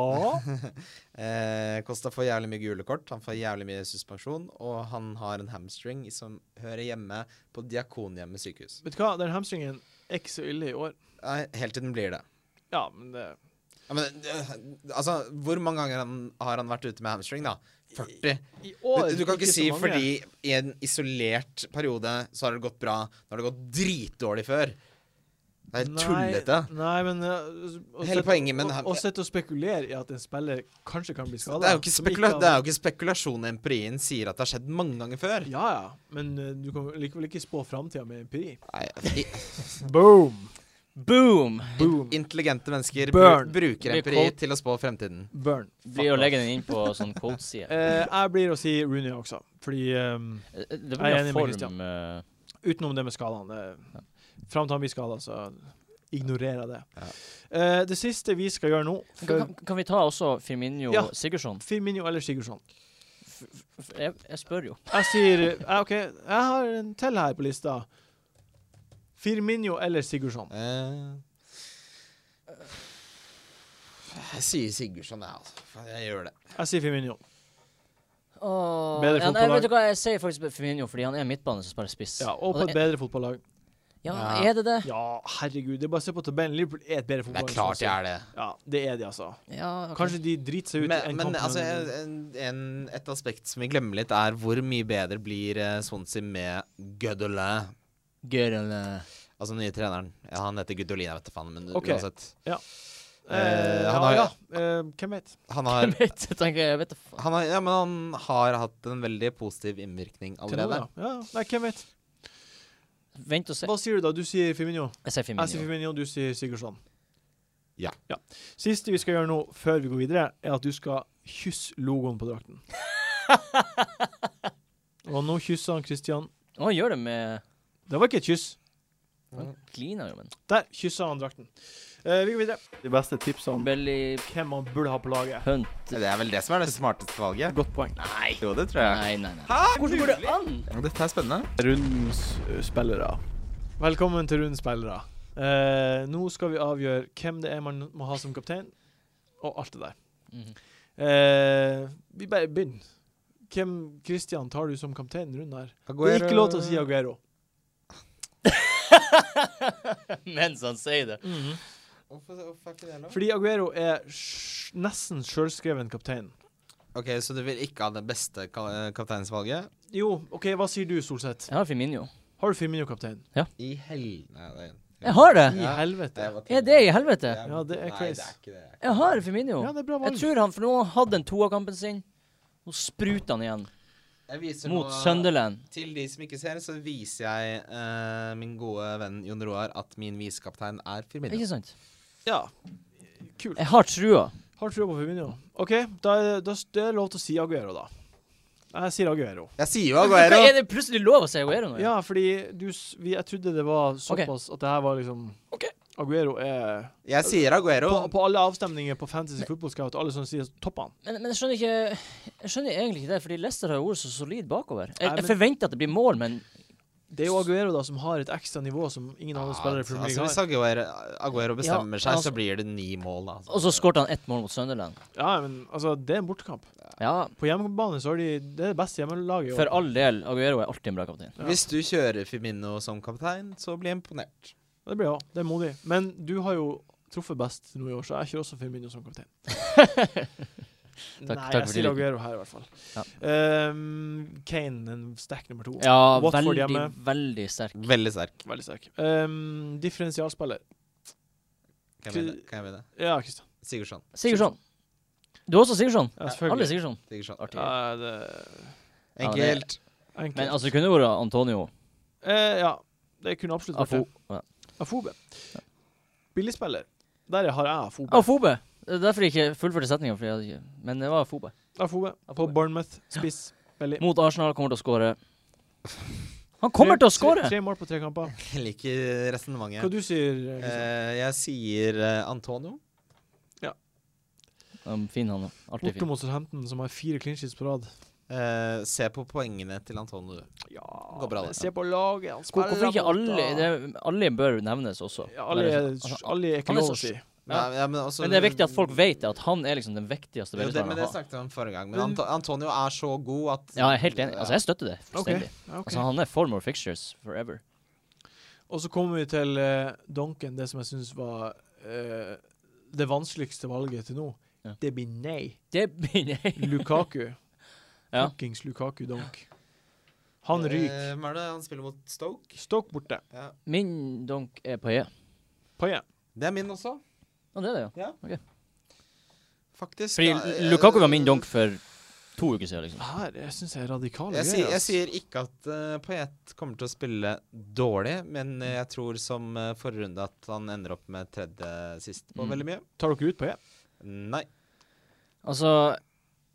S4: Eh, Kosta får jævlig mye gule kort, han får jævlig mye suspensjon, og han har en hamstring som hører hjemme på Diakonhjemmet sykehus.
S1: Vet du hva, den hamstringen er ikke så ille i år.
S4: Nei, helt til den blir det.
S1: Ja, men det
S4: Ja, men, eh, altså, hvor mange ganger han, har han vært ute med hamstring, da? 40?
S1: I
S4: Du,
S1: år
S4: du kan ikke
S1: så
S4: si
S1: mange.
S4: fordi i en isolert periode så har det gått bra, nå har det gått dritdårlig før. Det er helt tullete.
S1: Nei, nei, men uh, å
S4: Hele
S1: sette-
S4: poenget med den her-
S1: å- Å sitte og spekulere i at en spiller kanskje kan bli
S4: Så
S1: skada
S4: Det er jo ikke, spekula det er jo ikke spekulasjon MPI-en sier at det har skjedd mange ganger før.
S1: Ja, ja, men uh, du kan likevel ikke spå framtida med empiri.
S4: Nei, i-
S1: Boom!
S2: Boom!
S1: Boom!
S4: intelligente mennesker bru
S1: Burn.
S4: bruker
S2: Blir
S4: MPI
S2: kåt.
S4: til å spå fremtiden.
S1: Burn.
S2: Blir å legge den inn på sånn coach-side.
S1: Eh, jeg blir å si Rooney også, fordi um,
S2: Eh, Det
S1: Jeg
S2: blir
S1: er
S2: en
S1: enig med Christian.
S2: form eh,
S1: Utenom det med skadene. det- Fram til han blir skada, så ignorerer jeg det. Eh, det siste vi skal gjøre nå
S2: kan,
S1: for
S2: kan- kan vi ta også Firminio
S1: Ja.
S2: Sigurdsson?
S1: Firmino eller Sigurdsson?
S2: F- Jeg, jeg spør jo.
S1: Jeg sier eh, OK, jeg har en til her på lista. Firmino eller Sigurdsson?
S4: Eh, jeg sier Sigurdsson, jeg, altså. Faen, Jeg gjør det.
S1: Jeg sier Firmino.
S2: Åh,
S1: Bedre
S2: ja, nei,
S1: fotballag.
S2: vet du hva, jeg sier faktisk Firminio, fordi han er midtbane som spiller spiss.
S1: Ja, og på
S2: Og
S1: et
S2: det-
S1: bedre fotballag.
S2: ja,
S4: Ja.
S2: er det det?
S1: Ja, herregud. Det er bare å se på tabellen. Liverpool er et bedre
S4: Det
S1: fotballag.
S4: er klart jeg er det.
S1: Ja, det er de, altså.
S2: Ja, ok.
S1: Kanskje de driter seg ut i
S4: Men,
S1: en
S4: men
S1: kamp.
S4: altså, en, en, et aspekt som vi glemmer litt, er hvor mye bedre blir eh, Swansea med Gudelin. Altså den nye treneren. Ja, han heter Gudolin, jeg vet da faen, men
S1: Ok.
S4: uansett.
S1: eh,
S4: eh,
S1: ja,
S4: han har-
S1: ja. Eh, hvem vet?
S4: Han har,
S2: Vet du, tenker jeg, vet du faen.
S4: han har, ja, men han har hatt en veldig positiv innvirkning
S1: Til nå,
S4: allerede.
S1: ja. Ja, nei, hvem vet?
S2: Vent og se.
S1: Hva sier du da? Du sier Firmino?
S2: Jeg sier
S1: Jeg sier
S2: Firminio.
S1: Firmino, du sier Sigurdsson.
S4: Ja.
S1: Siste vi skal gjøre nå, før vi går videre, er at du skal kysse logoen på drakten. Og nå kysser han Christian.
S2: Å, han gjør det med
S1: Det var ikke et kyss.
S2: Han kliner jo, men.
S1: Der kysser han drakten. Eh, vi går videre. De beste tipsene om
S2: Belly
S1: hvem man burde ha på laget.
S2: punt.
S4: Det er vel det som er det smarteste valget.
S1: Godt poeng.
S2: Nei.
S4: Jo, det tror
S2: Nei, nei, nei. Hvordan går det an?
S4: Dette er spennende.
S1: Rundens ø, spillere. Velkommen til Rundens spillere. Eh, nå skal vi avgjøre hvem det er man må ha som kaptein, og alt det der.
S2: Mhm.
S1: Eh, vi bare begynner. Hvem Christian tar du som kaptein i runden her? Det er ikke lov til å si Aguero.
S2: Mens han sier det.
S1: Fordi Aguero er sj- nesten sjølskreven kaptein.
S4: OK, så du vil ikke ha det beste ka- eh, kapteinsvalget?
S1: Jo, OK, hva sier du, Solseth?
S2: Jeg har Firminio.
S1: Har du Firmino kaptein?
S4: I hel... Nei, det er-
S2: Jeg har det!
S1: I
S4: Ja.
S1: helvete.
S4: var
S2: Er det i helvete?
S1: Ja, det er crazy.
S4: Nei, det er ikke det.
S2: Jeg har Firminio.
S1: Ja, det er bra
S2: Jeg
S1: valg.
S2: tror han, for nå hadde han toakampen sin. Nå spruter han igjen.
S4: Jeg viser
S2: Mot
S4: nå-
S2: Sunderland.
S4: Til de som ikke ser, så viser jeg eh, min gode venn Jon Roar at min visekaptein er Firmino.
S2: Ikke sant?
S1: Ja. Kult.
S2: Jeg har trua.
S1: Har trua på Firmino. OK, da er det, da s- det er lov til å si Aguero, da. Jeg sier Aguero.
S4: Jeg sier jo
S2: Hva
S4: Aguero.
S2: er det plutselig lov å si Aguero nå?
S1: Ja, fordi du s- vi, Jeg trodde det var såpass at det her var liksom
S2: Ok.
S1: Aguero er
S4: Jeg sier Aguero.
S1: på, på alle avstemninger på Fantasy Football Scout, alle som sier topp han.
S2: Men, men jeg skjønner ikke Jeg skjønner egentlig ikke det, fordi Leicester har jo vært så solid bakover. Jeg,
S1: Nei,
S2: jeg
S1: men-
S2: forventer at det blir mål, men
S1: Det er jo Aguero da som har et ekstra nivå som ingen andre spillere i
S4: Ja,
S1: Premier
S4: altså,
S1: League
S4: hvis
S1: har.
S4: Aguero, Aguero bestemmer
S2: Ja,
S4: seg,
S2: altså-
S4: så blir det ni mål. da, Altså.
S2: Og så skårte han ett mål mot Sunderland.
S1: Ja, men altså, det er en bortekamp.
S2: Ja,
S1: På hjemmebane så har de Det er det beste hjemmelaget. i år.
S2: for all del. Aguero er alltid en bra kaptein.
S1: Ja.
S4: Hvis du kjører Firmino som kaptein, så blir jeg imponert.
S1: Det blir jeg også. Det er modig. Men du har jo truffet best nå i år, så jeg kjører også Firmino som kaptein. Nei,
S2: takk for
S1: jeg sier
S2: tilliten.
S1: Aguero her, i hvert fall.
S2: Ja.
S1: Ehm, Kane, en sterk nummer to.
S2: Ja,
S1: Watford
S2: veldig,
S1: hjemme.
S2: veldig sterk.
S4: Veldig sterk.
S1: Veldig sterk. Ehm, differensialspiller.
S4: Kan jeg vinne? Kan jeg vinne?
S1: Ja, Kristian.
S4: Sigurdsson.
S2: Sigurdsson. Du også Sigurdsson?
S1: Ja,
S2: Alle
S1: selvfølgelig.
S2: Sigurdsson.
S4: Sigurdsson.
S2: Artig.
S1: Ja, det er
S2: Ja, det-
S4: Enkelt.
S1: enkelt.
S2: Men altså, det kunne vært Antonio.
S1: Eh, ja, det kunne absolutt vært
S2: Afo
S1: det. Afobe. Billigspiller. Der har jeg Afobe.
S2: Afobe. Det er derfor jeg ikke fullførte setninga, men det var Afobe.
S1: Afobe på
S2: Afobe.
S1: Bournemouth. Spiss. Belly.
S2: Mot Arsenal kommer til å skåre. Han kommer til å
S1: Tre,
S2: skåre!
S1: tre mål på tre kamper.
S4: Jeg liker
S1: Hva
S4: resonnementet.
S1: du sier Kristian?
S4: Eh, jeg sier eh, Antonio.
S2: Um, fin han òg. Alltid
S1: Borte
S2: fin.
S1: mot Southampton, som har fire clinches på rad.
S4: Eh, se på poengene til Antonio. du.
S1: Ja,
S4: Går bra, det.
S1: men se på laget. Han spiller
S2: Hvorfor ikke
S1: mot,
S2: alle
S1: da.
S2: det, er- Alle bør nevnes også.
S1: ja, alle,
S2: Bare
S1: er,
S2: sånn, altså,
S1: alle er ikke
S2: han er
S1: lov å
S2: så
S1: si.
S2: Ja.
S4: Nei, ja, men, også-
S2: Men det er viktig at folk vet at han er liksom den viktigste
S4: Jo, det,
S2: velgeren
S4: men det
S2: å ha.
S4: snakket vi om forrige gang. Men
S1: Men-
S4: Anto Antonio er så god at
S2: Ja, jeg er helt enig. Altså, jeg støtter det
S1: OK.
S2: fullstendig.
S1: ja, ok.
S2: Altså, han er form of fixtures forever.
S1: Og så kommer vi til eh, Donken, det som jeg syns var eh, det vanskeligste valget til nå.
S2: Ja.
S1: Det blir nei.
S2: Det begynner jeg
S1: Lukaku.
S2: Ja.
S1: Fuckings Lukaku Donk. Han ryker.
S4: Eh, Hva er det han spiller mot Stoke?
S1: Stoke borte.
S4: Ja.
S2: Min donk er på E.
S1: Paille.
S4: Det er min også,
S2: Og det er det, ja.
S4: faktisk.
S2: Fordi
S4: Ja,
S2: L-
S4: eh,
S2: Lukaku var min donk for to uker siden, liksom.
S1: Her jeg syns jeg er radikal.
S4: Jeg,
S1: greier,
S4: sier, jeg
S1: ass.
S4: sier ikke at uh, Payet kommer til å spille dårlig, men eh, jeg tror som eh, forrige runde at han ender opp med tredje sist på
S2: Mm.
S4: veldig mye.
S1: Tar dere ut Paille?
S4: Nei.
S2: Altså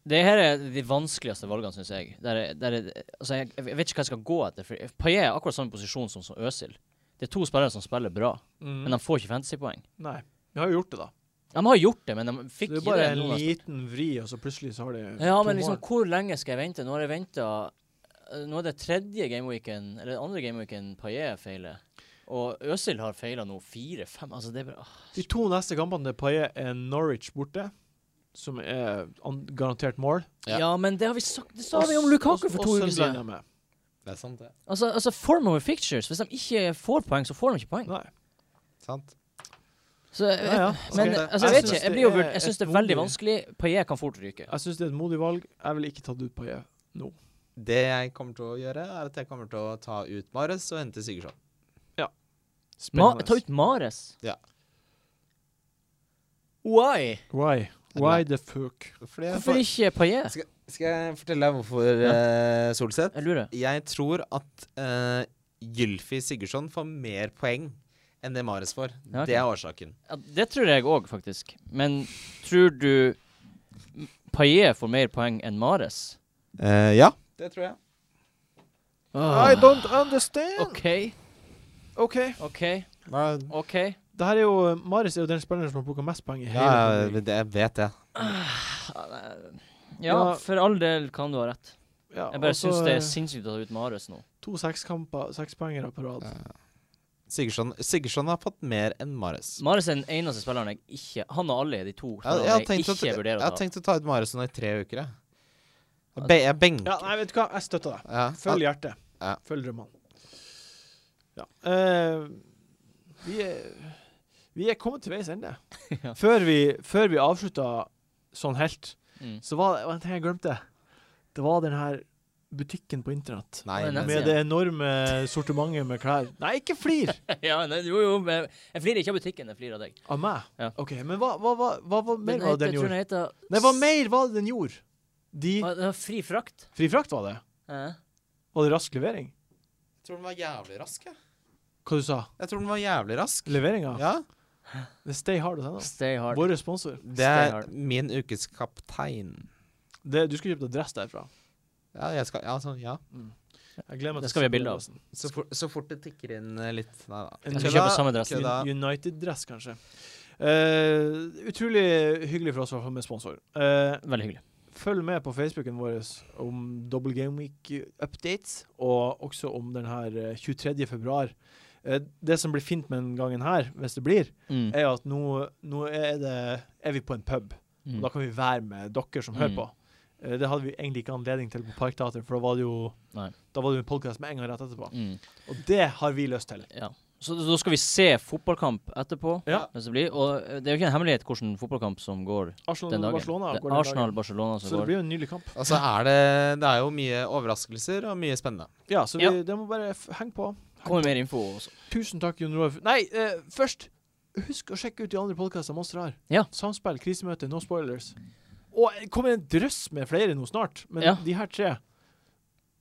S2: det her er de vanskeligste valgene, syns jeg. Der er, der er, altså jeg. Jeg vet ikke hva jeg skal gå etter. For Paillet er akkurat samme posisjon som, som Øsil. Det er to spillere som spiller bra, men de får ikke fantasypoeng.
S1: Nei. Vi har jo gjort det, da.
S2: De har gjort det, men de fikk
S1: Det er
S2: ikke
S1: bare
S2: det. altså.
S1: en
S2: noen av-
S1: liten vri, og så plutselig så har de
S2: Ja,
S1: to
S2: men liksom,
S1: mål.
S2: hvor lenge skal jeg vente? Nå har jeg venta Nå er det tredje gameweeken, eller andre gameweeken Paillet feiler. Og Øsil har feila nå fire-fem. Altså, det er bare ah.
S1: De to neste kampene til Paille er Norwich borte, som er an garantert mål.
S4: Ja.
S2: ja. men det har vi sagt Det sa vi om Lukaku for
S1: Og-
S2: to
S1: og Sunderland
S2: uker siden.
S1: er med.
S4: Det er sant, det.
S2: Altså, altså form over fictures. Hvis de ikke får poeng, så får de ikke poeng.
S1: Nei.
S4: Sant.
S2: Så, jeg-
S1: Ja, ja.
S2: Men
S1: Ok.
S2: altså, jeg vet
S1: synes
S2: ikke. Jeg,
S1: det
S2: blir jo, vurd-
S1: er
S2: jeg syns
S1: et
S2: det er veldig
S1: modig-
S2: vanskelig. Paillet kan fort ryke.
S1: Jeg syns det er et modig valg. Jeg ville ikke tatt ut Paille.
S4: Det jeg kommer til å gjøre, er at jeg kommer til å ta ut Mares og hente Sigurdsson.
S2: Ma ta ut Mares.
S4: Ja.
S2: Why?
S1: Why? Why the fuck?
S4: Fordi jeg
S2: Hvorfor
S4: får-
S2: ikke Paillet?
S4: Skal, skal jeg fortelle deg hvorfor, eh, Solseth?
S2: Jeg lurer.
S4: Jeg tror at uh, Gylfi Sigurdsson får mer poeng enn det Mares får.
S2: Ja, ok.
S4: Det er årsaken.
S2: Ja, det tror jeg òg, faktisk. Men tror du Paillet får mer poeng enn Mares?
S4: Eh, ja. Det tror jeg.
S2: Ah.
S1: I don't understand!
S2: OK,
S1: OK.
S2: OK,
S4: Hva-
S2: OK.
S1: Det her er jo Maris er jo den spilleren som har plukka mest poeng i hele
S4: Ja,
S1: Premier League.
S4: det- jeg vet det.
S2: Ja,
S1: Ja.
S2: for all del kan du ha rett.
S1: Ja,
S2: Jeg bare
S1: og så,
S2: syns det er
S1: eh,
S2: sinnssykt å ta ut Mares nå.
S1: To sekskamper, sekspoengere på rad.
S4: Sigurdsson, Sigurdsson har fått mer enn Mares.
S2: Mares er den eneste spilleren jeg ikke Han og alle er de to
S4: Jeg,
S2: spillerne
S4: jeg, har
S2: jeg,
S4: tenkt at,
S2: ikke
S4: jeg
S2: vurderer å
S4: har
S2: ta.
S4: tenkt å ta ut Mares nå i tre uker, jeg. Jeg Be, jeg benker.
S1: Ja, nei, vet du hva, jeg støtter deg.
S4: Ja.
S1: Følg hjertet.
S4: Ja.
S1: Følg drømmene. Ja. Eh, vi, er, vi er kommet til veis ende.
S2: Ja.
S1: Før vi, før vi avslutta sånn helt,
S2: Mm.
S1: så var det var en ting jeg glemte. Det var den her butikken på internett.
S4: Nei,
S2: Nei,
S4: men,
S2: nei.
S1: Med det enorme sortimentet med klær. Nei, ikke flir!
S2: ja, nei, jo, jo, men jeg flirer ikke av butikken, jeg flirer av deg.
S1: Av meg?
S2: Ja.
S1: OK, men hva, hva, hva, hva, hva mer var det den
S2: jeg tror
S1: gjorde?
S2: den heter
S1: Nei, hva mer var det den gjorde? De
S2: Ah, det var Fri frakt.
S1: Fri frakt var det?
S2: Ja.
S1: Var det rask levering?
S4: jeg tror den var jævlig rask, jeg.
S1: Hva du sa
S4: Jeg tror den var jævlig rask.
S1: Leveringa?
S4: Ja.
S1: Det er Stay Hard sånn. hos henne.
S2: Stay hard.
S1: Vår sponsor.
S4: Det
S2: Stay
S4: er
S2: hard.
S4: min ukes kaptein.
S1: Det, du skulle kjøpt deg dress derfra.
S4: Ja, jeg skal Ja, sånn, ja.
S1: Jeg gleder meg
S2: Det
S1: til
S2: skal vi ha
S1: å se
S2: bilde av.
S1: dressen.
S4: Så, for, så fort det tikker inn eh, litt Nei da.
S1: Jeg
S2: skal
S4: Kødda,
S2: kjøpe samme dress.
S4: kødda.
S1: Un- United-dress, kanskje. Eh, utrolig hyggelig for oss å få med sponsor. Eh,
S2: Veldig hyggelig.
S1: følg med på Facebooken vår om Double Game Week-updates, og også om den her eh, 23. februar. Eh, det som blir fint med den gangen her, hvis det blir,
S2: Mm.
S1: er at nå, nå er, det, er vi på en pub.
S2: Mm.
S1: Og Eh, da kan vi være med dere som hører
S2: Mm.
S1: på. Eh, Det hadde vi egentlig ikke anledning til på Parkteatret, for da var det jo
S2: Nei.
S1: Da var det jo en podkast med en gang rett etterpå.
S2: Mm.
S1: Og det har vi lyst til.
S2: Ja. Så så da skal vi se fotballkamp etterpå.
S1: Ja.
S2: Hvis det blir. Og eh, det er jo ikke en hemmelighet hvilken fotballkamp som går den
S1: Arsenal og
S2: dagen.
S1: Barcelona
S2: det
S1: går
S2: er
S1: den
S2: Arsenal
S1: dagen.
S2: Barcelona som
S1: Så det
S2: går.
S1: blir jo en nylig kamp.
S4: Og så er det Det er jo mye overraskelser og mye spennende.
S1: Ja, så vi,
S2: Ja.
S1: det må bare f henge på.
S2: Kommer mer info også.
S1: Tusen takk, Jon Roar. Nei, eh, først Husk å sjekke ut de andre podkastene Monster har.
S2: Ja.
S1: Samspill, krisemøte, no spoilers. Og det kommer en drøss med flere nå snart, men
S2: Ja.
S1: de her tre,
S2: Ja,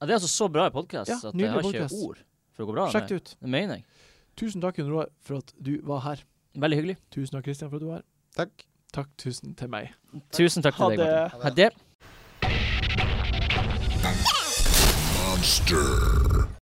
S2: det er altså så bra podkast
S1: Ja,
S2: at jeg har
S1: nydelig
S2: ikke
S1: podcast.
S2: ord for å gå bra.
S1: sjekk det ut.
S2: Det mener jeg.
S1: Tusen takk, Jon Roar, for at du var her.
S2: Veldig hyggelig.
S1: Tusen takk, Kristian, for at du var her.
S4: Takk.
S1: Takk tusen til meg.
S2: Tusen takk
S1: Ha
S2: til deg,
S1: det.
S2: Martin. Ha det.
S3: Monster.